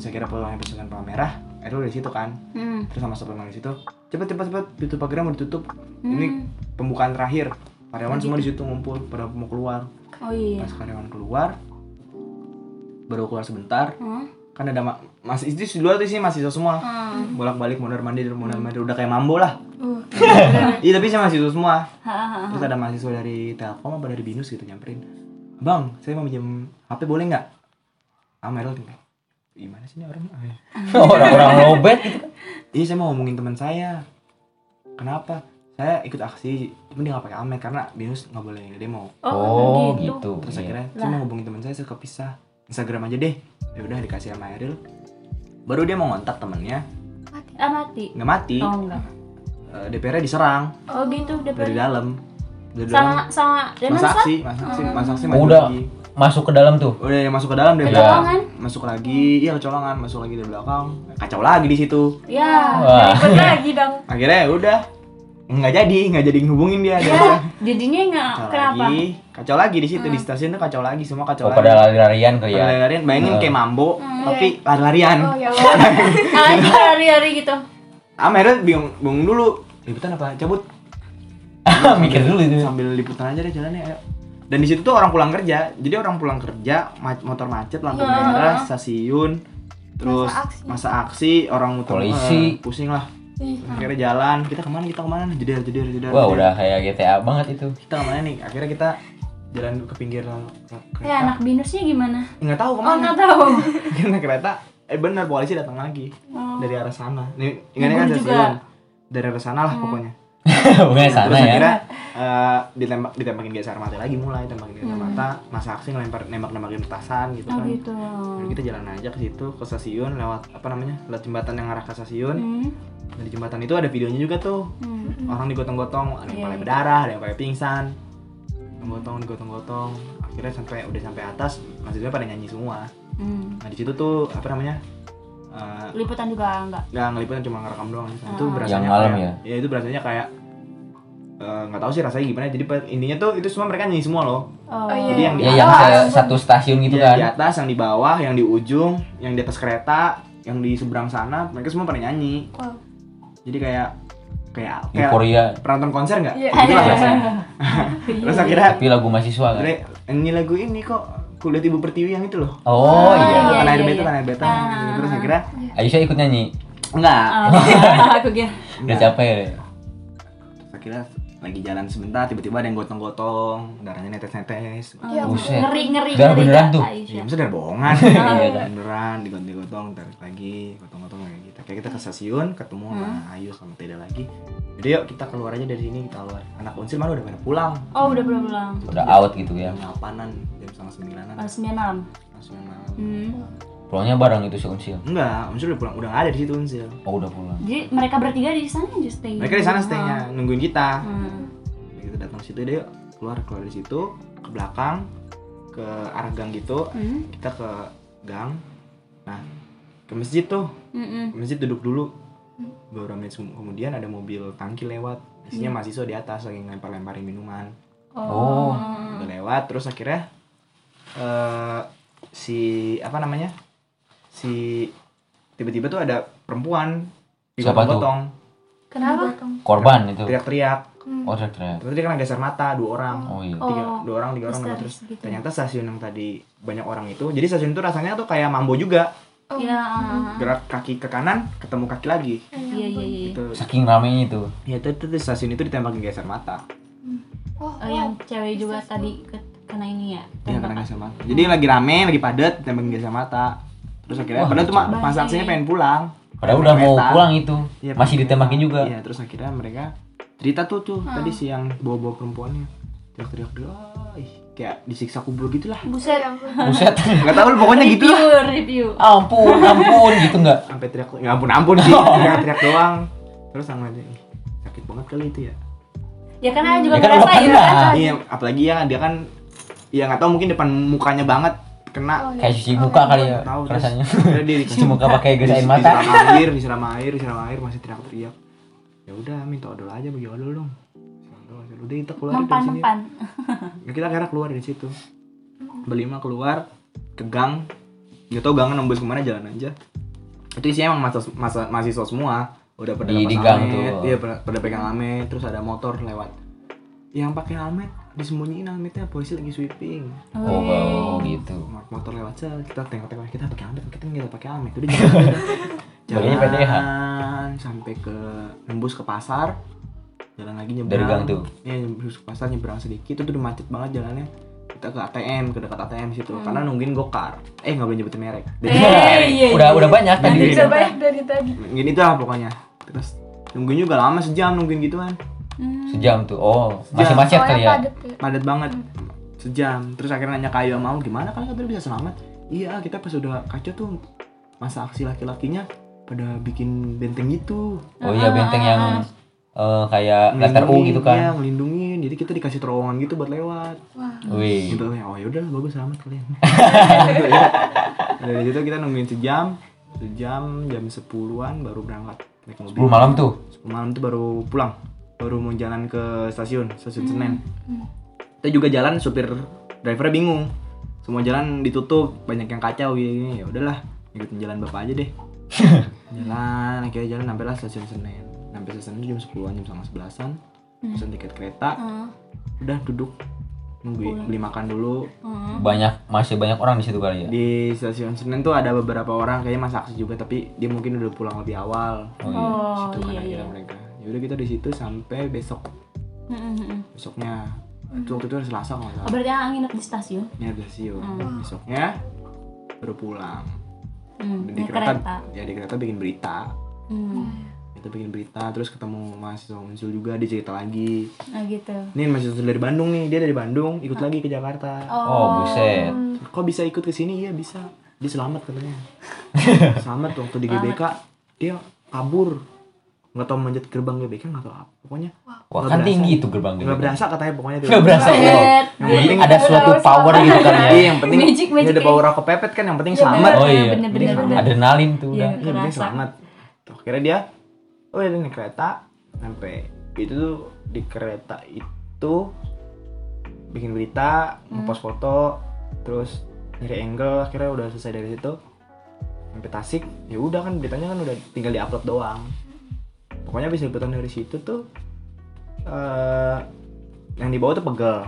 Terus akhirnya pulangnya pasukan Palang Merah, Erul dari situ kan. Hmm. terus sama satpam yang di situ cepet cepet cepet pintu pagar mau ditutup ini Hmm. pembukaan terakhir karyawan semua di situ ngumpul pada mau keluar Oh iya. pas karyawan keluar baru keluar sebentar Hmm. kan ada ma- masih itu di luar tuh sih mahasiswa semua Hmm. bolak balik mondar mandir mondar mandir udah kayak mambo lah Uh, iya tapi sih mahasiswa semua Ha-ha. terus ada mahasiswa dari telkom apa dari binus gitu nyamperin bang saya mau pinjam hp boleh nggak ah Meryl tinggal gimana sih ini orang Ah, iya. Orang-orang lobet gitu. Iya saya mau ngomongin teman saya. Kenapa? Saya ikut aksi, cuma dia nggak pakai amet karena Binus nggak boleh demo. Oh, gitu. gitu. Terus Iya. akhirnya saya mau ngomongin teman saya, saya kepisah. Instagram aja deh. Ya udah dikasih sama Eril. Baru dia mau ngontak temennya, Ah mati. nggak mati. Oh enggak. Eh, DPR-nya diserang Oh gitu udah dari ber- dalam. Dari sama Ah. sama dan Masa masa aksi, masa aksi, masa aksi maju Udah lagi. masuk ke dalam tuh. Udah yang Oh, iya, masuk ke dalam dari Kecolongan. belakang. Masuk lagi, iya kecolongan, masuk lagi dari belakang. Kacau lagi di situ. ya Wah. ikut lagi dong Akhirnya ya udah nggak jadi, nggak jadi ngehubungin dia. dia. ya jadinya nggak kacau kenapa lagi kacau lagi di situ di stasiun tuh kacau lagi semua Oh, kacau lagi pada lari-larian kali Pada ya. lari-larian bayangin Hmm. kayak mambo tapi Iya. lari-larian oh iya. ya Allah. Ah, itu hari-hari gitu akhirnya Ah, bingung bingung dulu liputan apa cabut [LAUGHS] Mikir dulu itu. sambil liputan aja deh jalannya ayo dan di situ tuh orang pulang kerja jadi orang pulang kerja ma- motor macet lampu merah stasiun terus Masa aksi. masa aksi, orang muter Polisi. eh, pusing lah Ih, akhirnya jalan kita kemana kita kemana jeder jeder jeder Wah, jeder. udah kayak GTA banget itu. [LAUGHS] kita kemana nih akhirnya kita jalan ke pinggir kereta Eh, ya anak binusnya gimana nggak tahu oh kemana [LAUGHS] nggak tahu karena kereta eh benar polisi datang lagi Oh, dari arah sana nih ingatnya kan Gugur juga. Hmm. stasiun dari arah sana lah pokoknya Bukan Nah, sana terus ya. akhirnya eh, ditembak ditembakin gas air mata lagi mulai tembakin gas air mata masa aksi ngelempar nembak nembakin petasan gitu Hmm. oh kan gitu Jadi kita jalan aja ke situ ke stasiun lewat apa namanya lewat jembatan yang arah ke stasiun Hmm, dan di jembatan itu ada videonya juga tuh hmm. orang digotong-gotong ada yang Iya, paling iya. berdarah ada yang paling pingsan digotong digotong-gotong akhirnya sampai udah sampai atas mahasiswa pada nyanyi semua Hmm. nah di situ tuh apa namanya eh, liputan juga enggak nggak ngeliputan cuma ngerekam doang Nah, itu Ah. berasanya Yang malam kayak, ya itu berasanya kayak eh, nggak tahu sih rasanya gimana jadi pe- intinya tuh itu semua mereka nyanyi semua loh Oh, iya. jadi yang di Ya yang atas. se- satu stasiun gitu Ah. Iya, kan. di atas yang di bawah yang di ujung yang di atas kereta yang di seberang sana mereka semua pada nyanyi Wow. jadi kayak kayak kayak Euforia. pernah nonton konser nggak [LAUGHS] Iya. Gitu lah rasanya. Iya. terus akhirnya Tapi lagu mahasiswa kan. akhirnya, ini lagu ini kok kulihat ibu pertiwi yang itu loh Oh Ah. Iya, iya. tanah air iya, beta iya. tanah air beta Ah. terus akhirnya Aisyah ikut nyanyi. enggak Oh, aku kira. Udah enggak. capek ya. Terus akhirnya lagi jalan sebentar tiba-tiba ada yang gotong-gotong darahnya netes-netes Ya, Oh, buset. ngeri ngeri. Udah ngeri, beneran Kak tuh. Iya, Aisyah. maksudnya dari bohongan. Iya kan. Beneran digotong-gotong, tarik lagi, gotong-gotong kayak gitu. Kayak kita ke stasiun, ketemu sama Ayu sama Teda lagi. Jadi yuk kita keluar aja dari sini, kita keluar. Anak unsur mana udah pada pulang. Oh, udah pulang pulang. Udah out gitu ya. Jam delapanan, jam setengah sembilanan, Oh, sembilan malam. jam sembilan malam. Hmm. Pulangnya bareng itu si Unsil. Enggak, unsur udah pulang, udah nggak ada di situ unsur. Oh udah pulang. Jadi mereka bertiga di sana aja stay. Mereka di sana stay-nya, nungguin kita. Hmm. Kita datang ke situ deh, yuk keluar keluar dari situ, ke belakang, ke arah gang gitu. Hmm. Kita ke gang, nah ke masjid tuh. Ke Mm-mm. masjid duduk dulu beberapa menit sem- kemudian ada mobil tangki lewat isinya mahasiswa di atas lagi ngelempar-lemparin minuman Oh. Hmm. udah lewat terus akhirnya eh si apa namanya si tiba-tiba tuh ada perempuan Siapa tuh? digotong-gotong Kenapa? Iya. Korban itu. teriak-teriak Oh teriak. terus dia kena geser mata dua orang Oh iya. Oh. tiga dua orang tiga orang Histeris terus gitu. ternyata stasiun yang tadi banyak orang itu jadi stasiun itu rasanya tuh kayak mambo juga Oh. Iya. gerak kaki ke kanan ketemu kaki lagi Iya, iya, iya. gitu Saking ramenya itu. ya itu, itu, itu stasiun itu ditembak geser mata Oh, Oh, yang cewek juga tadi ke- kena ini ya. Iya kena gas air mata. Jadi lagi rame, lagi padat, tembak gas air mata. Terus akhirnya Wah, padahal tuh ma- bahaya. masa aksinya pengen pulang. Padahal udah mau Kereta. pulang itu. Iya, Masih pengen ditembakin pulang. juga. Iya, terus akhirnya mereka cerita tuh tuh tadi si yang bawa-bawa perempuannya. Teriak-teriak dulu. "Ah, ih, Kayak disiksa kubur gitu lah. Buset. Buset. [LAUGHS] Enggak tahu pokoknya gitu lah. Review, review. ampun, ampun gitu enggak? Sampai teriak, ya ampun ampun [LAUGHS] sih, teriak-teriak doang. Terus sama aja, "Ih, sakit banget kali itu ya. Ya kan Ayah juga Ya kan udah ngerasain pernah. kan. Iya, apalagi ya dia kan ya nggak tahu mungkin depan mukanya banget Oh. kena iya. Kayak cuci muka kali ya Tahu, terus rasanya. akhirnya [LAUGHS] dia Cuci dikasih muka pakai gesain Dis- mata. Disiram air, disiram air, disiram air masih teriak-teriak. Ya udah minta odol aja bagi odol dong. Minta Odol, odol. udah kita keluar Mempan, dari sini. mempan. Ya, kita akhirnya keluar dari situ. Berlima keluar ke gang. Gak tau gangan nembus kemana jalan aja. Itu isinya emang mahasiswa, mahasiswa- mahasiswa semua udah pada Di- lepas di gang helmet, tuh. Iya pada, pada pegang helmet, terus ada motor lewat. Yang pakai helmet disembunyiin helmetnya polisi lagi sweeping. Oh, oh, gitu. Mot- motor lewat sel kita tengok tengok kita pakai helmet kita nggak pakai helmet [LAUGHS] udah jalan Bagiannya PTH. jalan sampai ke nembus ke pasar jalan lagi nyebrang Dari gang tuh. iya nembus ke pasar nyebrang sedikit itu udah macet banget jalannya kita ke ATM ke dekat ATM situ karena nungguin gokar eh nggak boleh nyebutin merek Eh, iya, udah iya. udah banyak tadi. Iya. Udah banyak dari tadi. gini tuh lah pokoknya terus nungguin juga lama sejam nungguin gituan Hmm, Sejam tuh. Oh, masih Sejam. macet Soalnya kali ya. padat ya. padat banget sejam terus akhirnya nanya kayu mau gimana kalian katanya bisa selamat iya kita pas udah kacau tuh masa aksi laki-lakinya pada bikin benteng gitu Oh iya benteng yang eh, kayak letter U Ngelindungin, gitu Ah. iya, kan. ngelindungin jadi kita dikasih terowongan gitu buat lewat Wah. Wih. gitu ya oh yaudah lah bagus [LAUGHS] selamat kalian dari situ kita nungguin sejam sejam jam sepuluhan baru berangkat naik 10 mobil malam tuh. Sepuluh malam tuh baru pulang baru mau jalan ke stasiun Hmm. stasiun Senen kita juga jalan supir drivernya bingung semua jalan ditutup banyak yang kacau gini ya udahlah ikutin jalan bapak aja [LAUGHS] deh jalan akhirnya jalan sampailah stasiun Senen sampai stasiun itu jam 10-an jam setengah sebelasan Hmm. pesan tiket kereta udah duduk nunggu beli makan dulu hmm. Banyak masih banyak orang di situ kali ya. di stasiun Senen tuh ada beberapa orang kayaknya masa aksi juga tapi dia mungkin udah pulang lebih awal Oh iya. Oh, situ kan iya iya. akhirnya mereka ya udah kita di situ sampai besok Mm, mm, mm. besoknya Hmm. itu waktu itu hari Selasa kalau nggak Oh, salah berarti Ayah nginep di stasiun. ini hari siu besoknya baru pulang Hmm, di naik kereta. kereta ya di kereta bikin berita Hmm, kita bikin berita terus ketemu mahasiswa muncul juga dia cerita lagi nah gitu. ini mahasiswa Unsil dari Bandung nih dia dari Bandung ikut lagi ke Jakarta Oh, buset. kok bisa ikut ke sini iya bisa dia selamat katanya selamat waktu di GBK dia kabur nggak tahu manjat gerbang GBK nggak tahu apa pokoknya Wah, nggak kan berasa. tinggi itu gerbang gitu. nggak berasa katanya pokoknya tuh. Nggak berasa. Wow. Buset. Jadi ada suatu power gitu kan ya. Iya, yang penting Magic, magic ini ada kayak- bawa rokok pepet kan yang penting selamat. Oh iya. Bener-bener, Ini bener. Adrenalin tuh Iya. udah. Yang penting Kerasa. selamat. Tuh, akhirnya dia oh dia naik kereta sampai itu tuh di kereta itu bikin berita Hmm. ngepost foto terus nyari angle akhirnya udah selesai dari situ sampai Tasik ya udah kan beritanya kan udah tinggal diupload doang pokoknya bisa liputan dari situ tuh eh yang dibawa tuh pegel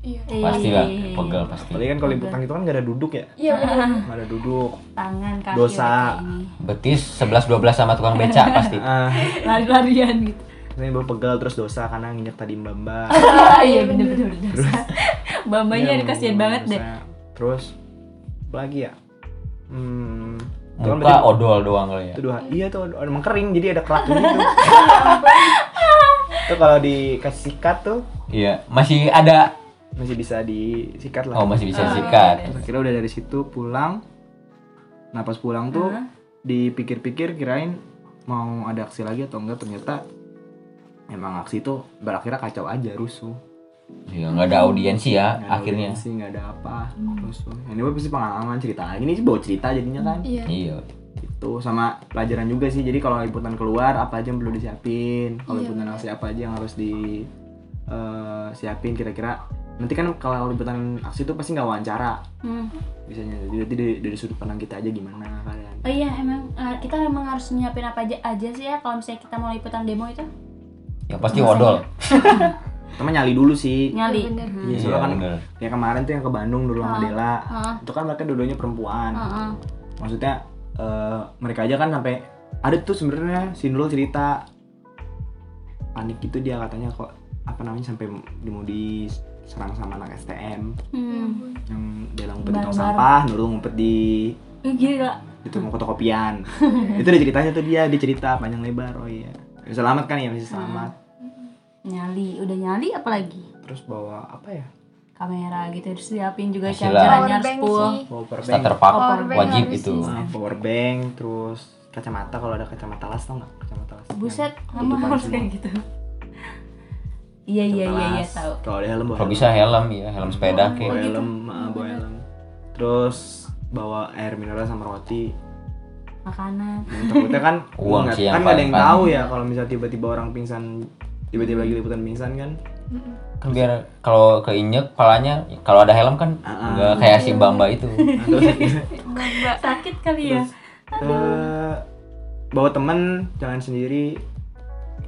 Iya. pasti lah pegel pasti apalagi kan kalau liputan itu kan gak ada duduk ya Iya benar. gak ada duduk tangan kaki Dosa. mereka ini. betis 11 12 sama tukang beca pasti ah lari-larian gitu ini baru pegel terus dosa karena nginjak tadi mbak mbak ah iya bener-bener dosa bambanya Iya, dikasihin banget deh dosa. terus apa lagi ya hmm itu kan muka berarti- odol doang kali ya itu dua iya tuh ada- emang kering jadi ada kerak gitu [LAUGHS] itu kalau dikasih sikat tuh iya masih ada masih bisa disikat lah oh masih bisa Ah, Oh, sikat Terus akhirnya udah dari situ pulang nah pas pulang tuh Heeh. dipikir-pikir kirain mau ada aksi lagi atau enggak ternyata emang aksi itu berakhirnya kacau aja rusuh ya nggak ada audiensi ya Nggak ada akhirnya sih nggak ada apa Hmm. rusuh ini mah pasti pengalaman cerita lagi ini sih bawa cerita jadinya kan Iya. iya itu Gitu. sama pelajaran juga sih jadi kalau liputan keluar apa aja yang perlu disiapin kalau Iya, liputan benar. aksi apa aja yang harus di eh, siapin kira-kira nanti kan kalau liputan aksi itu pasti nggak wawancara Hmm. biasanya jadi dari, dari sudut pandang kita aja gimana kalian Oh iya emang eh, kita memang harus nyiapin apa aja aja sih ya kalau misalnya kita mau liputan demo itu ya pasti Rasanya. odol teman nyali dulu sih nyali. Hmm. Benar. Iya, iya soalnya kan bener kayak kemarin tuh yang ke Bandung dulu sama Ah. Dela Heeh. itu kan mereka dua-duanya perempuan Heeh. maksudnya eh, mereka aja kan sampai ada tuh sebenarnya si Nurul cerita panik itu dia katanya kok apa namanya sampai di- mau diserang sama anak STM Ya Hmm. ampun. yang dia ngumpet di tong Barbar. sampah, Nurul ngumpet di Ih, Gila. di [LAUGHS] toko kopian itu dia ceritanya tuh dia dia cerita panjang lebar oh iya selamat kan ya masih Hmm. selamat Nyali, udah nyali apalagi? terus bawa apa ya Kamera gitu harus siapin juga Masih lah. chargerannya Power harus bank full. sih. bawa power bank starter pack Power bank wajib harus itu sih. Ah, power bank terus kacamata kalau ada kacamata las tau nggak kacamata las Buset, Yang kamu ketutupan harus semua. kayak gitu. Iya iya Kacamata iya iya las. tahu. kalau ada helm bawa kalau helm. bisa helm ya helm sepeda bawa kayak gitu. helm ah, bawa helm terus bawa air mineral sama roti Makanan. Dan takutnya kan [LAUGHS] Uang nggak- sih yang kan nggak ada yang paling tahu ya kalau misalnya tiba-tiba orang pingsan tiba-tiba lagi liputan pingsan kan Mm-mm. kan biar kalau keinjek palanya kalau ada helm kan Ah, ah. [LAUGHS] nggak kayak si bamba itu Nah, terus Sakit kali ya. terus eh, bawa temen jangan sendiri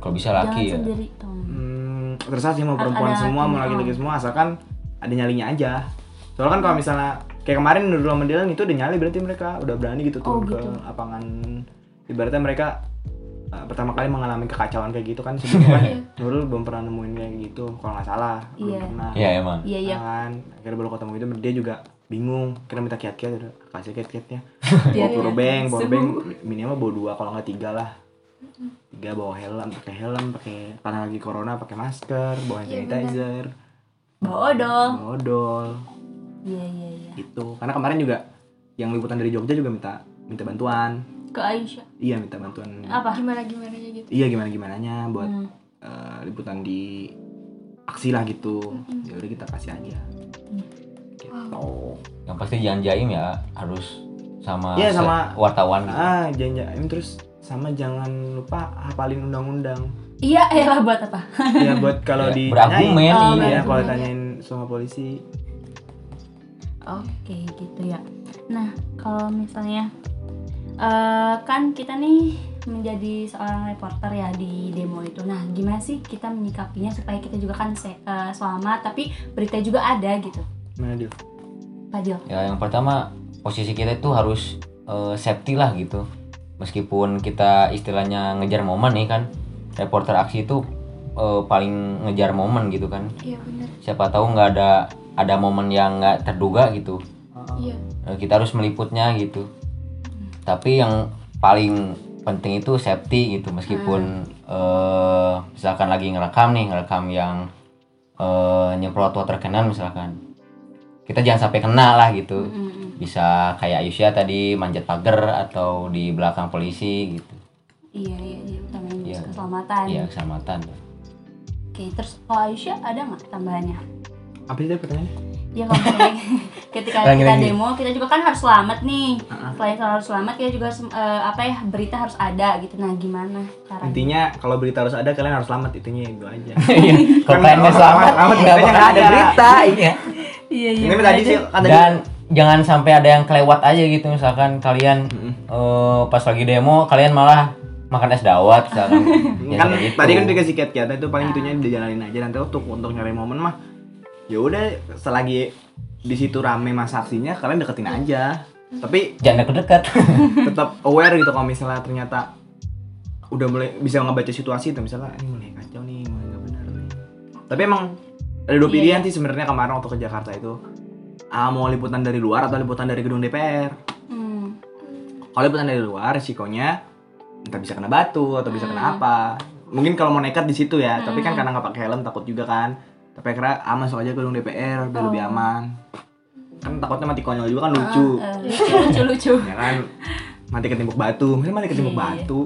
kalau bisa Jangan laki ya sendiri tuh. Hmm, terserah sih mau Harus perempuan ada semua mau lakinya. laki-laki semua asalkan ada nyalinya aja soalnya kan kalau misalnya kayak kemarin dulu sama Dylan itu udah nyali berarti mereka udah berani gitu Oh, turun gitu. ke lapangan ibaratnya mereka uh, pertama kali mengalami kekacauan kayak gitu kan sebelumnya [LAUGHS] kan Nurul belum pernah nemuin kayak gitu kalau nggak salah belum Iya. pernah iya emang Iya iya. kan akhirnya baru ketemu itu dia juga bingung kira minta kiat-kiat udah kasih kiat-kiatnya Iya, bawa iya. powerbank powerbank Seru. minimal bawa dua kalau nggak tiga lah tiga bawa helm pakai helm pakai karena lagi corona pakai masker bawa hand Iya, sanitizer Bawa odol. bawa odol Iya iya iya. gitu karena kemarin juga yang liputan dari Jogja juga minta minta bantuan Ke Aisyah. iya minta bantuan Apa? Gimana gimana gitu. iya gimana gimananya buat Hmm. eh, liputan di aksi lah gitu ya udah kita kasih aja Mm. gitu yang pasti jangan jaim ya harus sama, Iya, se- sama- wartawan gitu. ah jangan jangan terus sama jangan lupa hafalin undang-undang [LAUGHS] Iya, elah buat apa? ya buat kalau Ya, ditanyain berargumen Oh, iya. Iya, kalau Berargumen, tanyain sama polisi Oke, gitu ya. Nah, kalau misalnya eh, kan kita nih menjadi seorang reporter ya di demo itu. Nah, gimana sih kita menyikapinya supaya kita juga kan se- eh, selamat tapi berita juga ada gitu. mana dia Fadil. ya yang pertama posisi kita itu harus eh, safety lah gitu meskipun kita istilahnya ngejar momen nih kan reporter aksi itu eh, paling ngejar momen gitu kan Iya benar. siapa tahu nggak ada ada momen yang nggak terduga gitu Iya. Eh, kita harus meliputnya gitu tapi yang paling penting itu safety gitu meskipun eh, misalkan lagi ngerekam nih ngerekam yang eh, nyemprot water cannon misalkan kita jangan sampai kena lah gitu Mm-mm. bisa kayak Aisyah tadi manjat pagar atau di belakang polisi gitu Iya, iya, iya, utamanya Iya. keselamatan. ya keselamatan Oke, terus kalau Aisyah ada nggak tambahannya? apa sih tadi pertanyaannya ya kalau [LAUGHS] kayak- ketika Lagi, kita lagi. demo kita juga kan harus selamat nih Heeh. selain kalau harus selamat kita juga sem- eh, apa ya berita harus ada gitu nah gimana caranya Intinya kalau berita harus ada kalian harus selamat intinya itu aja. Iya. Kalau Karena kalian nggak orang selamat, selamat, nggak beritanya bakal nggak ada ada. berita. Iya. Ini tadi sih kan tadi. Dan jangan sampai ada yang kelewat aja gitu misalkan kalian Mm-mm. eh, pas lagi demo kalian malah makan es dawet misalkan. Ya, kan kayak gitu. tadi kan dikasih kiat kiat itu paling itunya dijalanin aja nanti untuk untuk nyari momen mah ya udah selagi di situ rame masa aksinya kalian deketin aja Hmm. tapi jangan deket-deket. [LAUGHS] tetap aware gitu kalau misalnya ternyata udah mulai bisa ngebaca situasi itu misalnya "Ah, ini mulai kacau nih mulai nggak benar nih tapi emang ada dua Iya, pilihan sih sebenarnya kemarin waktu ke Jakarta itu ah, mau liputan dari luar atau liputan dari gedung DPR Hmm. kalau liputan dari luar risikonya entah bisa kena batu atau bisa Hmm. kena apa mungkin kalau mau nekat di situ ya tapi kan Hmm. karena nggak pakai helm takut juga kan tapi akhirnya ah masuk aja ke gedung DPR biar lebih Oh. aman kan takutnya mati konyol juga kan lucu Eh, lucu [LAUGHS] lucu ya kan mati ketimbuk batu mungkin mati ketimbuk Iya. [LAUGHS] batu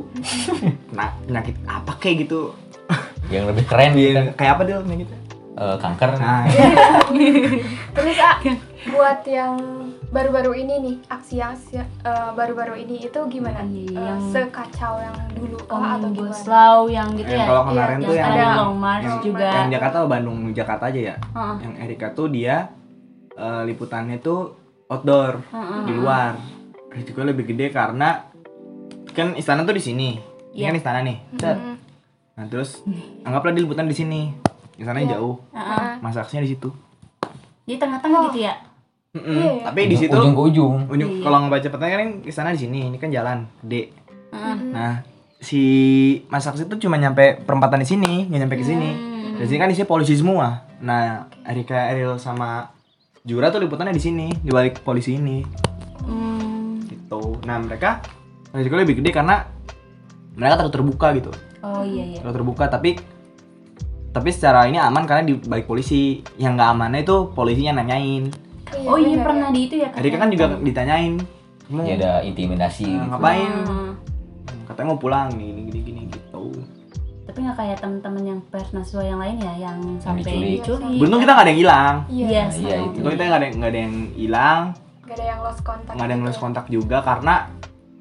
nah penyakit apa kayak gitu yang lebih keren gitu kan. kayak apa dia penyakitnya Eh, kanker. Iya. nah Terus ah, [LAUGHS] buat yang baru-baru ini nih aksi yang si- eh, baru-baru ini itu gimana? Iya, Eh, yang- sekacau yang dulu kah atau omnibus gimana? law yang gitu Yang ya kalau kemarin yang tuh yang- ada yang- long march yang- juga yang Jakarta atau Bandung Jakarta aja ya Heeh. yang Erika tuh dia eh, liputannya tuh outdoor Heeh. di luar risikonya lebih gede karena kan istana tuh di sini ini Iya. kan istana nih Set. Mm-mm. nah terus anggaplah dia liputan di sini istananya jauh Iya. Heeh. masaknya di situ di tengah-tengah gitu ya Mm-mm. Iya, iya. tapi di situ ujung ke ujung. ujung Iya. kalau ngebaca petanya kan istana di sini ini kan jalan gede Heeh. nah si Mas Aksi itu cuma nyampe perempatan di sini nggak nyampe ke sini Hmm. di sini kan isinya polisi semua nah Erika Eril sama Jura tuh liputannya di sini di balik polisi ini Hmm. gitu nah mereka risiko lebih gede karena mereka terlalu terbuka gitu oh iya iya terlalu terbuka tapi tapi secara ini aman karena di balik polisi yang nggak amannya itu polisinya nanyain oh iya benar, pernah di itu ya Kak? Erika kan juga ditanyain kamu Ya ada intimidasi. eh, gitu. ngapain Hmm. katanya mau pulang nih gini gini, gini gitu tapi nggak kayak temen-temen yang pernaswa yang lain ya yang sampai diculik. diculik beruntung kita nggak ada yang hilang iya Iya. Nah, iya, sayang. itu. Untung kita nggak ada nggak ada yang hilang Gak ada yang lost kontak. nggak ada yang lost gitu. kontak juga karena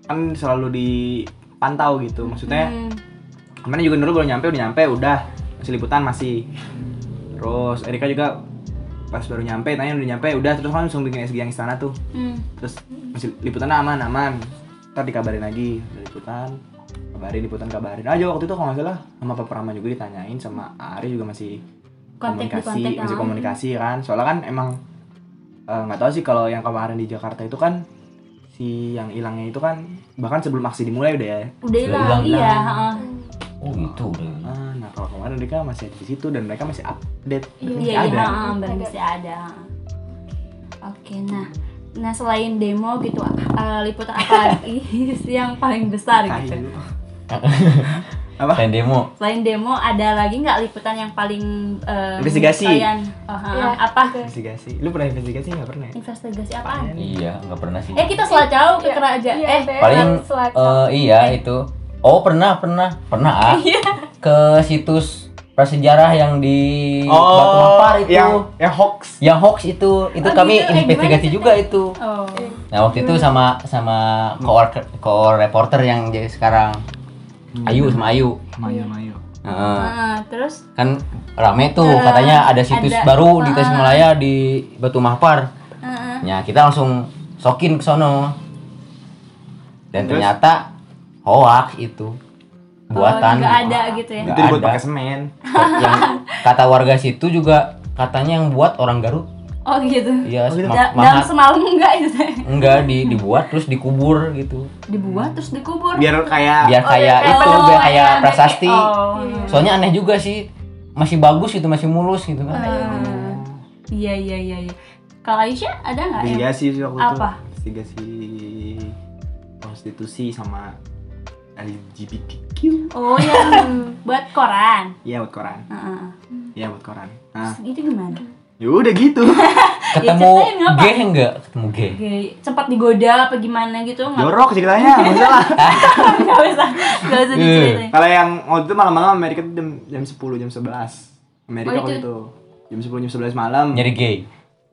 kan selalu dipantau gitu maksudnya Hmm. kemarin juga dulu baru nyampe udah nyampe udah masih liputan masih terus Erika juga pas baru nyampe tanya udah nyampe udah terus kan langsung bikin SG yang istana tuh Hmm. terus masih liputan aman aman ntar dikabarin lagi Udah liputan kabarin liputan kabarin aja waktu itu kalau nggak salah sama Pak Prama juga ditanyain sama Ari juga masih kontak di komunikasi kontak masih ah. komunikasi kan soalnya kan emang eh, nggak tahu sih kalau yang kemarin di Jakarta itu kan si yang hilangnya itu kan bahkan sebelum aksi dimulai udah ya udah hilang hilang, iya hilang. heeh. Oh gitu. udah. Ah, nah kalau kemarin mereka masih ada di situ dan mereka masih update Berarti iya masih iya ada heeh, berarti masih ada oke nah nah selain demo gitu eh, liputan apa lagi yang paling besar gitu Kayu. Dan demo. selain demo ada lagi nggak liputan yang paling eh, Investigasi. kalian oh, heeh. Iya. apa investigasi lu pernah investigasi nggak pernah ya? investigasi apaan Iya, nggak pernah sih. eh kita salah jauh ke Iya, kerajaan iya, eh Teh. paling Selacak. eh, iya itu oh pernah pernah pernah ah Iya. ke situs prasejarah yang di Batu Hampar itu Oh, yang yang hoax Yang hoax itu itu Oh, kami gitu. Eh, gimana investigasi itu, juga itu oh nah waktu itu sama sama koor koor reporter yang jadi sekarang Hmm. Ayu sama Ayu Iya. Nah, mayo mayo Heeh. Heeh, terus kan rame tuh Eh, katanya ada situs ada. Ah. baru di Tasikmalaya di Batu Mahpar Heeh. ya kita langsung sokin ke sono dan Terus? ternyata hoax itu buatan Oh, nggak ada gitu ya? itu Nggak dibuat ada. [LAUGHS] pakai semen yang kata warga situ juga katanya yang buat orang Garut oh gitu ya gitu. ma- Da- dalam mahat semalam enggak itu Teh? enggak di dibuat terus dikubur gitu dibuat terus dikubur biar kayak biar Oh, kayak iya, itu iya. biar kayak Oh, prasasti oh. soalnya aneh juga sih masih bagus itu masih mulus gitu kan Eh, iya iya iya iya kalau Aisyah ada nggak yang investigasi iya sih waktu itu Apa? investigasi prostitusi sama LGBTQ oh yang buat koran Iya buat koran Heeh. Iya buat koran nah itu gimana ya udah gitu [LAUGHS] ketemu Ya, ceritain nggak, Pak? gay enggak ketemu gay Gay- sempat digoda apa gimana gitu nggak jorok ceritanya masalah [LAUGHS] nggak usah nggak Iya. usah diceritain kalau yang waktu itu malam-malam Amerika tuh jam jam 10 jam 11 Amerika Oh, itu- waktu itu jam 10 jam 11 malam nyari gay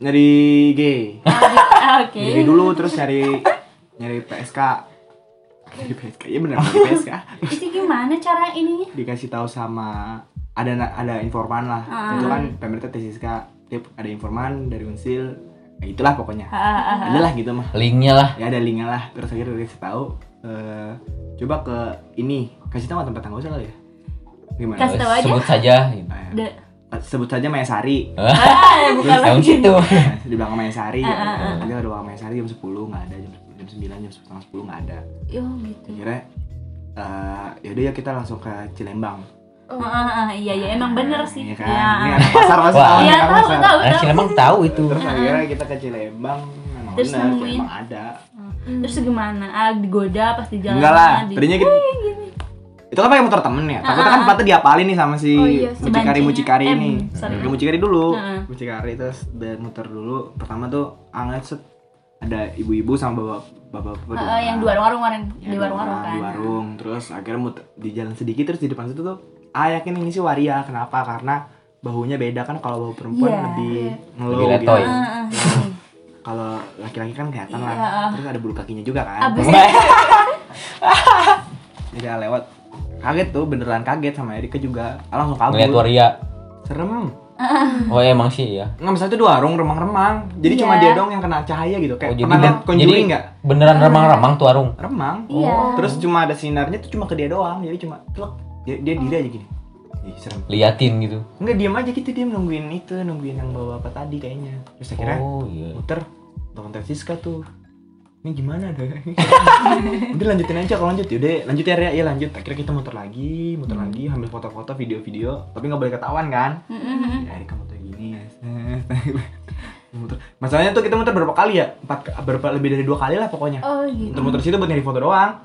nyari G Ah, Oke. nyari dulu terus nyari nyari PSK nyari PSK ya benar nyari PSK Itu gimana cara ininya? dikasih tahu sama ada na- ada informan lah Ah. itu kan pemerintah tesiska tip ada informan dari unsil ya itulah pokoknya Ah, ah, ah. ada lah gitu mah linknya lah ya ada linknya lah terus akhirnya dikasih tahu eh, coba ke ini kasih tahu tempat tanggal usah kali ya gimana Kasih tahu aja. sebut saja gitu. Eh, De- sebut saja Maya [LAUGHS] Sari Ah, ya bukan Emang lagi. situ Nah, di belakang Maya Sari Ah, ah, ya. ada ruang Maya Sari jam 10 nggak ada jam 10, jam 9 jam 10 sepuluh nggak ada Yo gitu. akhirnya eh, yaudah ya kita langsung ke Cilembang Ah, ah, ah, iya iya emang bener sih. Iya kan? Ini Ya. anak pasar pasti Wah. tahu nih, Iya anak tahu pasar. tahu Nah, tahu. Cilemang tahu [LAUGHS] itu Terus akhirnya kita ke Cilembang, memang Terus benar, nemuin. Cilembang ada. Terus gimana? Ah, digoda pas di jalan. Enggak lah, di- Ah, tadinya kita itu kan pakai motor temen ya, takutnya kan tempatnya diapalin nih sama si Oh iya, si mucikari-mucikari bancingnya. ini Eh, sorry. Ke mucikari dulu, Heeh. mucikari terus dan muter dulu Pertama tuh anget set, ada ibu-ibu sama bapak- bapak-bapak Ah, ah, yang di warung warung Ya, di warung warung orang, kan. Di warung, terus akhirnya muter, di jalan sedikit terus di depan situ tuh Ah yakin ini sih waria, kenapa? Karena bahunya beda kan kalau bahu perempuan Iya. lebih ngelow Lebih gitu letoy. Ah, ah, ah. kalau laki-laki kan kelihatan Iya, ah. lah terus ada bulu kakinya juga kan Abis jadi ah, lewat kaget tuh beneran kaget sama Erika juga Ah, langsung kabur ngeliat waria serem oh iya, emang sih ya nggak misalnya itu dua warung remang-remang jadi cuma Iya. dia dong yang kena cahaya gitu kayak Oh, pernah lihat ben- Conjuring jadi nggak beneran remang-remang tuh warung remang Oh. Iya. terus cuma ada sinarnya tuh cuma ke dia doang jadi cuma telak dia, dia diri aja gini Ih, serem liatin gitu nggak diam aja gitu dia nungguin itu nungguin yang bawa apa tadi kayaknya terus akhirnya oh iya muter telepon Siska tuh ini gimana ada [LAUGHS] udah lanjutin aja kalau lanjut yaudah lanjut ya Ria ya lanjut akhirnya kita muter lagi muter Hmm. lagi ambil foto-foto video-video tapi nggak boleh ketahuan kan Hmm. ya Erika muter gini ya muter masalahnya tuh kita muter berapa kali ya empat berapa lebih dari dua kali lah pokoknya Oh gitu. muter-muter situ buat nyari foto doang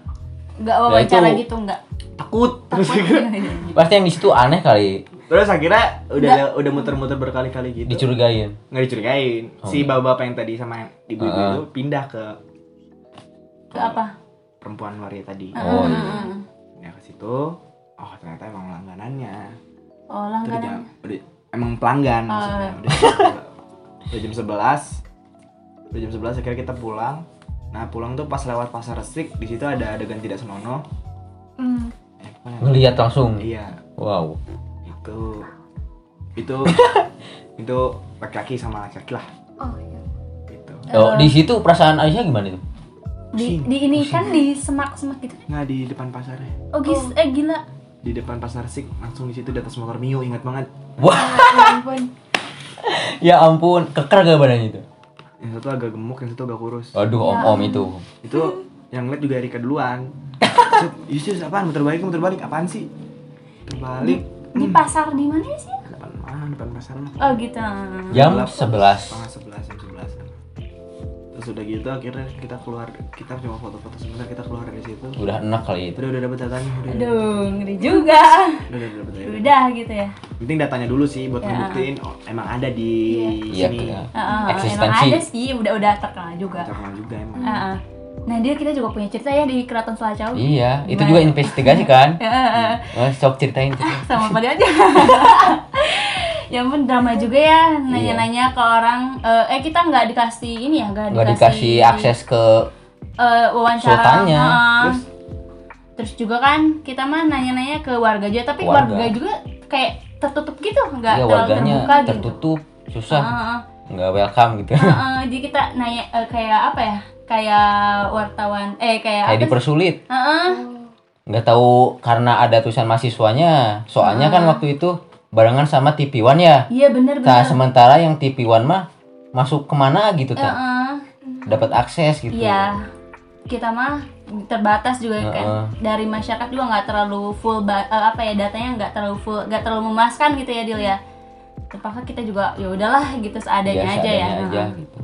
Enggak Ya, wawancara itu- gitu enggak. takut terus akhirnya, [LAUGHS] Takut. pasti yang di situ aneh kali [LAUGHS] terus akhirnya udah udah muter-muter berkali-kali gitu dicurigain nggak dicurigain Oh. si bapak yang tadi sama ibu-ibu Ah. itu pindah ke Ke apa? perempuan waria tadi Oh, iya. Ah, ah. ya ke situ oh ternyata emang langganannya Oh, Itu udah jam- langganan. udah- emang pelanggan Oh. maksudnya udah, jam sebel- udah jam 11 udah jam 11 akhirnya kita pulang nah pulang tuh pas lewat pasar resik di situ ada adegan tidak senonoh Hmm. eh, pokoknya- ngeliat langsung iya wow itu itu itu laki-laki sama laki-laki lah Oh iya. gitu Eh. oh, di situ perasaan Aisyah gimana tuh Di, di ini kan di semak-semak gitu. nggak di depan pasarnya Oh, gis, eh gila. di depan pasar resik langsung di situ di atas motor mio ingat banget wah Ya ampun. ya ampun keker gak badannya itu yang satu agak gemuk yang satu agak kurus waduh om om Ya itu itu Hmm. yang ngeliat juga Erika [LAUGHS] duluan Set, Yusus apaan muter balik muter balik apaan sih muter balik Di Hmm. pasar di mana sih? depan mana depan pasar mah Oh, gitu. jam Gelap. 11 setengah sebelas jam sebelas terus udah gitu akhirnya kita keluar kita cuma foto-foto sebentar kita keluar dari situ udah enak kali itu udah udah dapet datanya udah udah Aduh, ngeri juga. udah dapet datanya Udah gitu ya. penting datanya dulu sih buat Ya. ngebuktiin oh, emang ada di iya sini iya. Ah, ah, emang eksistensi ada sih, udah udah terkenal juga. terkenal juga emang Ah, ah. Nah, dia kita juga punya cerita ya di Keraton Selacau. iya itu Gimana? juga investigasi [LAUGHS] kan Ah, ah, ah. oh, sok ceritain ceritain. sama pada [LAUGHS] aja ya ampun drama juga ya nanya-nanya ke orang eh, eh kita nggak dikasih ini ya Iya. nggak nggak dikasih akses ke eh, wawancara sultannya. heeh. terus terus, juga kan kita mah nanya-nanya ke warga juga tapi warga, Warga. juga kayak tertutup gitu nggak ya terlalu warganya terbuka gitu tertutup susah Heeh, Iya, nggak welcome gitu heeh, jadi kita nanya eh, kayak apa ya kayak wartawan [LAUGHS] eh kayak kayak apa sih? dipersulit Heeh. nggak tahu karena ada tulisan mahasiswanya soalnya kan waktu itu barengan sama TV One ya iya bener nah bener sementara yang TV One mah masuk kemana gitu tak Heeh. dapat akses gitu Iya, kita mah terbatas juga kan Heeh. dari masyarakat juga nggak terlalu full ba- eh, apa ya datanya nggak terlalu full nggak terlalu memuaskan gitu ya Dil ya terpaksa kita juga ya udahlah gitu seadanya Biasa aja ya adanya Iya, aja Heeh. gitu.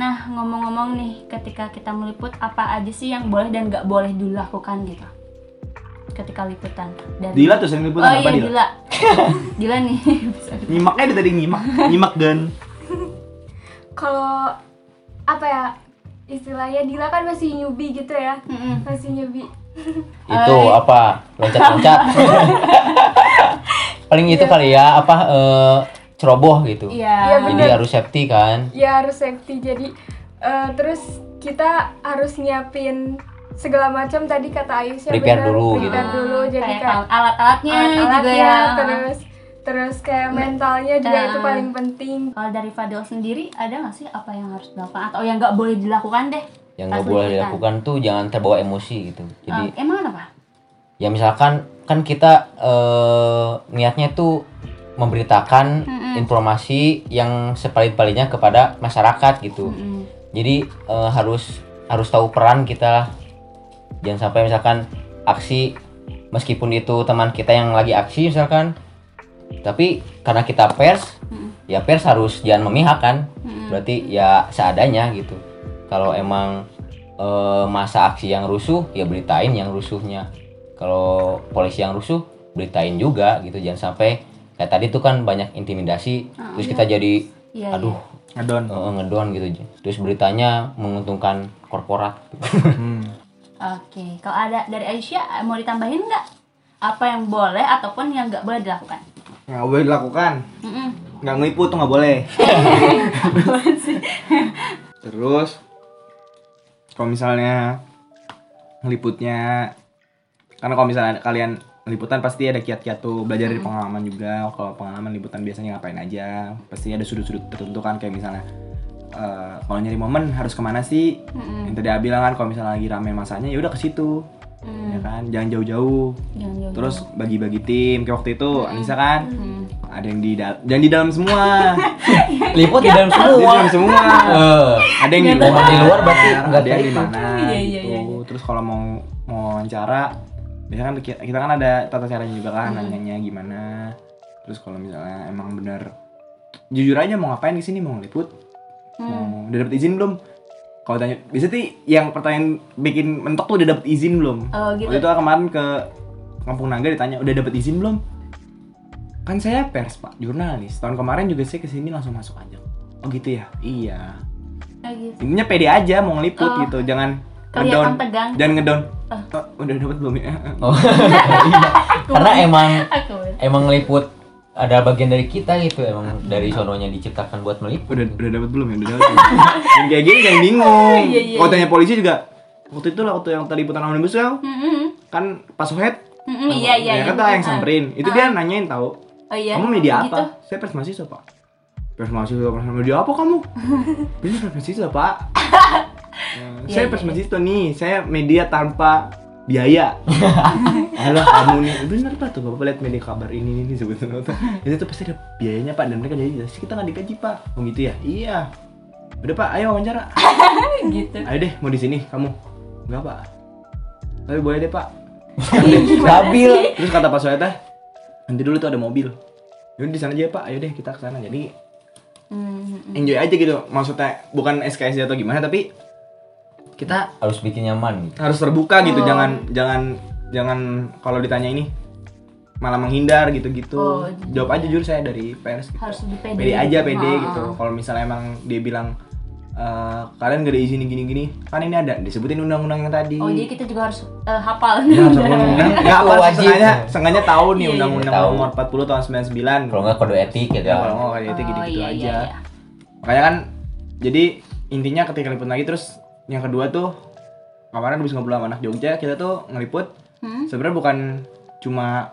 nah ngomong-ngomong nih ketika kita meliput apa aja sih yang boleh dan nggak boleh dilakukan gitu ketika liputan dari Dila tuh sering liputan oh apa iya Dila? Dila [LAUGHS] Dila nih Nyimaknya dari tadi [LAUGHS] nyimak, nyimak dan Kalau apa ya istilahnya Dila kan masih newbie gitu ya. Masih newbie. itu Eh. apa [LAUGHS] loncat loncat paling itu kali ya apa eh, ceroboh gitu Iya. Iya, bener. jadi harus safety kan ya harus safety jadi eh, terus kita harus nyiapin segala macam tadi kata Ayusnya Prepare bener, dulu gitu. prepare dulu Ah, jadi Kayak kayak alat-alatnya juga alat-alatnya ya. Nah, terus terus kayak mentalnya juga itu Ah. paling [LAUGHS] penting Kalau dari Fadil sendiri ada nggak sih apa yang harus dilakukan atau yang nggak boleh dilakukan deh? yang Pas nggak boleh liputan. dilakukan tuh jangan terbawa emosi gitu jadi Eh, emang apa? ya misalkan kan kita eh, niatnya tuh memberitakan Mm-mm. informasi yang sepaling-palingnya kepada masyarakat gitu Mm-mm. jadi eh, harus harus tahu peran kita lah jangan sampai misalkan aksi meskipun itu teman kita yang lagi aksi misalkan tapi karena kita pers Mm-mm. ya pers harus jangan memihak kan Mm-mm. berarti ya seadanya gitu kalau emang eh, masa aksi yang rusuh ya beritain yang rusuhnya kalau polisi yang rusuh beritain juga gitu jangan sampai kayak tadi tuh kan banyak intimidasi Ah, terus iya. kita jadi Iya, iya. aduh Ngedon. eh, ngedown gitu terus beritanya menguntungkan korporat Hmm. Oke, kalau ada dari Aisyah mau ditambahin nggak? Apa yang boleh ataupun yang nggak boleh dilakukan? Nggak boleh dilakukan. Mm-mm. [LAUGHS] Nggak ngeliput tuh nggak boleh. Apaan sih? Terus kalau misalnya ngeliputnya karena kalau misalnya kalian liputan pasti ada kiat-kiat tuh belajar dari pengalaman juga kalau pengalaman liputan biasanya ngapain aja pasti ada sudut-sudut tertentu kan kayak misalnya eh, kalau nyari momen harus kemana sih Mm-mm. yang tadi Abi bilang kan kalau misalnya lagi rame masanya ya udah ke situ Mm. ya kan jangan jauh-jauh Jangan jauh-jauh. terus bagi-bagi tim kayak waktu itu Anissa kan Mm. ada yang di dalam yang di dalam [LAUGHS] semua liput gitu. di dalam di semua dalam [LAUGHS] semua Eh, ada yang di Nggak luar, tahu. Di luar berarti nggak ada yang di tahu. mana Iya, gitu. iya, iya, iya. Terus kalau mau mau wawancara, biasanya kan kita, kita kan ada tata caranya juga kan, Hmm. nanyanya gimana. Terus kalau misalnya emang bener jujur aja mau ngapain di sini mau ngeliput, Hmm. Mm. mau udah dapet izin belum? Kalau tanya, biasanya tuh yang pertanyaan bikin mentok tuh udah dapet izin belum? Oh, gitu. Waktu itu kemarin ke Kampung Naga ditanya, udah dapet izin belum? Kan saya pers pak, jurnalis. Tahun kemarin juga saya kesini langsung masuk aja. Oh gitu ya? Iya Kayak gitu. intinya pede aja mau ngeliput Oh. gitu jangan ngedown Kelihatan tegang. jangan ngedown "Oh, udah dapat belum ya [LAUGHS] Oh. karena emang Aku. emang liput ada bagian dari kita gitu Ah. emang dari sononya diciptakan buat meliput udah udah dapat belum ya udah dapat [LAUGHS] yang kayak gini jangan bingung Iya, iya, kalau tanya polisi juga waktu itu lah waktu yang tadi liputan omnibus law Mm-mm. kan pas Suhed Mm-mm, Iya iya. ya iya. kan tuh yang samperin itu dia nanyain tahu Oh iya. kamu media Gitu. apa saya pers mahasiswa pak pers mahasiswa pers media apa [LAUGHS] kamu bener pers mahasiswa pak Nah, Iya, saya iya, pers iya. mahasiswa nih saya media tanpa [LAUGHS] biaya halo kamu nih bener pak tuh bapak lihat media kabar ini ini sebetulnya tuh itu tuh pasti ada biayanya pak dan mereka jadi "Sih, kita nggak digaji pak oh gitu ya iya udah pak ayo wawancara Gitu. [LAUGHS] ayo deh mau di sini kamu enggak pak tapi boleh deh pak Iya, Iya. stabil Terus kata Pak Soeta, nanti dulu tuh ada mobil. Yaudah di sana aja ya, Pak, ayo deh kita ke sana. Jadi Mm-mm. enjoy aja gitu. Maksudnya bukan SKS atau gimana tapi kita harus bikin nyaman gitu. harus terbuka gitu. Oh. Jangan jangan jangan kalau ditanya ini malah menghindar gitu-gitu. Oh, Jawab aja jujur saya dari pers gitu. Harus lebih pede. Pede aja gitu. pede Ha, ha, gitu. ha. Kalau misalnya emang dia bilang "Eh, kalian gak ada izin gini-gini kan ini ada disebutin undang-undang yang tadi Oh jadi kita juga harus eh, hafal. [LAUGHS] Ya, harus ngomong undang. Nggak Itu apa, Kan wajib. sengaja, sengaja tahu nih Iya, iya. undang-undang Tahu. nomor 40 tahun 99. kalau nggak kode etik gitu Ya, kalau ya nggak kayak gitu Oh, gitu iya, aja. iya, iya. Makanya kan jadi intinya ketika liput lagi terus yang kedua tuh kemarin habis ngobrol sama anak Jogja kita tuh ngeliput Hmm? sebenarnya bukan cuma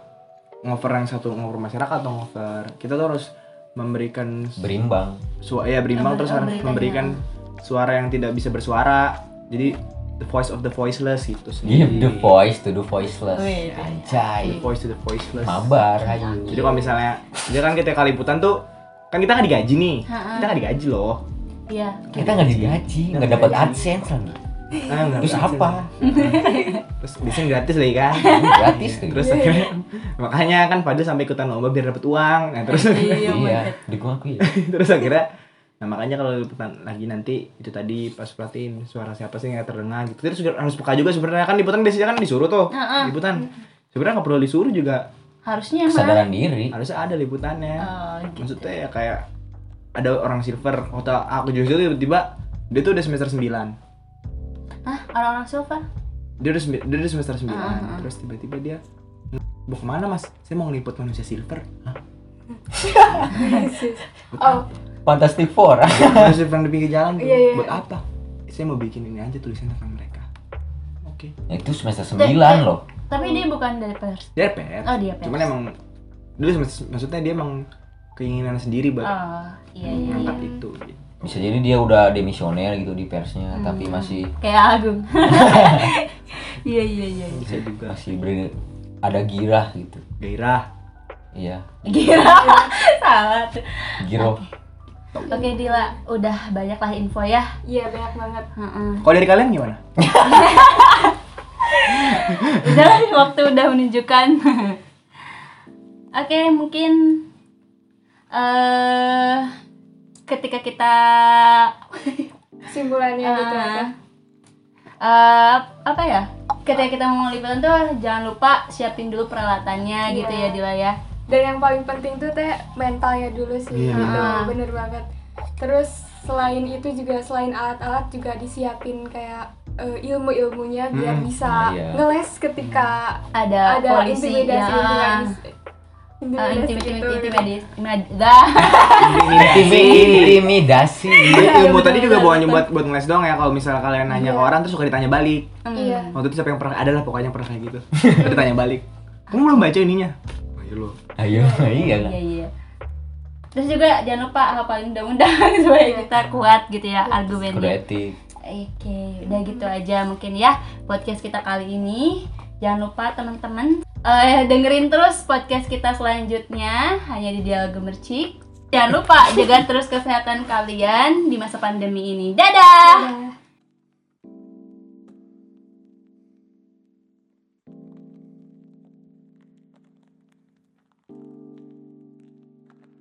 ngover yang satu ngover masyarakat atau ngover kita tuh harus memberikan berimbang suara ya berimbang terus harus Memberikan, iya. memberikan suara yang tidak bisa bersuara jadi the voice of the voiceless gitu give Iya, the sendiri. voice to the voiceless Iya. Wih, iya. the anjay voice to the voiceless mabar ayo Jadi kalau misalnya, jadi kan kita kaliputan tuh kan kita nggak digaji nih, Ha-ha. kita nggak digaji loh. [LAUGHS] Iya. kita nggak digaji Iya. nggak dapat adsense lagi Ah, nggak terus digaji. apa Terus biasanya gratis lagi kan. gratis tuh terus akhirnya- makanya kan Fadil sampai ikutan lomba biar dapet uang. Nah, terus Iya. iya digaji [LAUGHS] terus akhirnya nah makanya kalau liputan lagi nanti itu tadi pas perhatiin suara siapa sih yang nggak terdengar gitu terus juga harus peka juga sebenarnya kan liputan biasanya kan disuruh tuh Ha-ha. liputan sebenarnya nggak perlu disuruh juga Harusnya mah. kesadaran diri harusnya ada liputannya Oh, gitu. maksudnya ya kayak ada orang silver waktu aku jujur tuh tiba-tiba dia tuh udah semester 9 Hah, orang-orang silver? dia udah, sembi- dia udah semester 9 Ah, ah, ah. terus tiba-tiba dia mau kemana mas saya mau ngeliput manusia silver Hah? oh Fantastic Four. Terus di depan di pinggir jalan tuh, Iya, iya. buat apa? Saya mau bikin ini aja tulisan tentang mereka. Oke. itu semester 9 loh. Tapi dia Hmm. bukan dari pers. Dia PR. Oh, dia pers. Cuman emang dulu semes- maksudnya dia emang keinginan sendiri buat Oh, iya iya. mengangkat Iya. itu. gitu. Bisa jadi dia udah demisioner gitu di persnya, tapi masih Kayak [LAUGHS] Agung. Iya iya iya. iya. Bisa juga masih ber- ada girah gitu. gairah. Iya, Gila. [LAUGHS] Salah tuh. giroh. Oke Dila, udah banyaklah info ya. iya banyak banget Heeh. Kalau dari kalian [LAUGHS] gimana? Udah lah, [LAUGHS] waktu udah menunjukkan. [LAUGHS] Oke, mungkin eh ketika kita [LAUGHS] simpulannya gitu eh, aja eh, apa ya? Ketika kita mau liputan tuh jangan lupa siapin dulu peralatannya gitu ya Iya. Dila ya. dan yang paling penting tuh teh mentalnya dulu sih Iya, gitu mental. bener banget terus selain itu juga selain alat-alat juga disiapin kayak eh, ilmu-ilmunya biar Hmm, bisa iya. ngeles ketika Ah, Ada, ada polisi intimidasi gitu kan. ya. Eh, intimidasi intim- gitu, intim- gitu. intimidasi. Nah, Intimidasi. Iya, ilmu bener-bener. tadi juga bukan buat buat ngeles doang ya kalau misalnya kalian nanya ke Iya. orang terus suka ditanya balik. iya Waktu itu siapa yang pernah adalah pokoknya pernah kayak gitu. Terus ditanya balik. Kamu belum baca ininya? Ayo lo. Ayo, iya lah. Iya iya. Terus juga jangan lupa hafalin undang-undang [LAUGHS] supaya Iya. kita kuat gitu ya Kode argumennya. etik. Oke, udah gitu aja mungkin ya podcast kita kali ini. Jangan lupa teman-teman eh, dengerin terus podcast kita selanjutnya hanya di Dialog Gemercik. Jangan lupa jaga terus kesehatan kalian di masa pandemi ini. Dadah. Udah.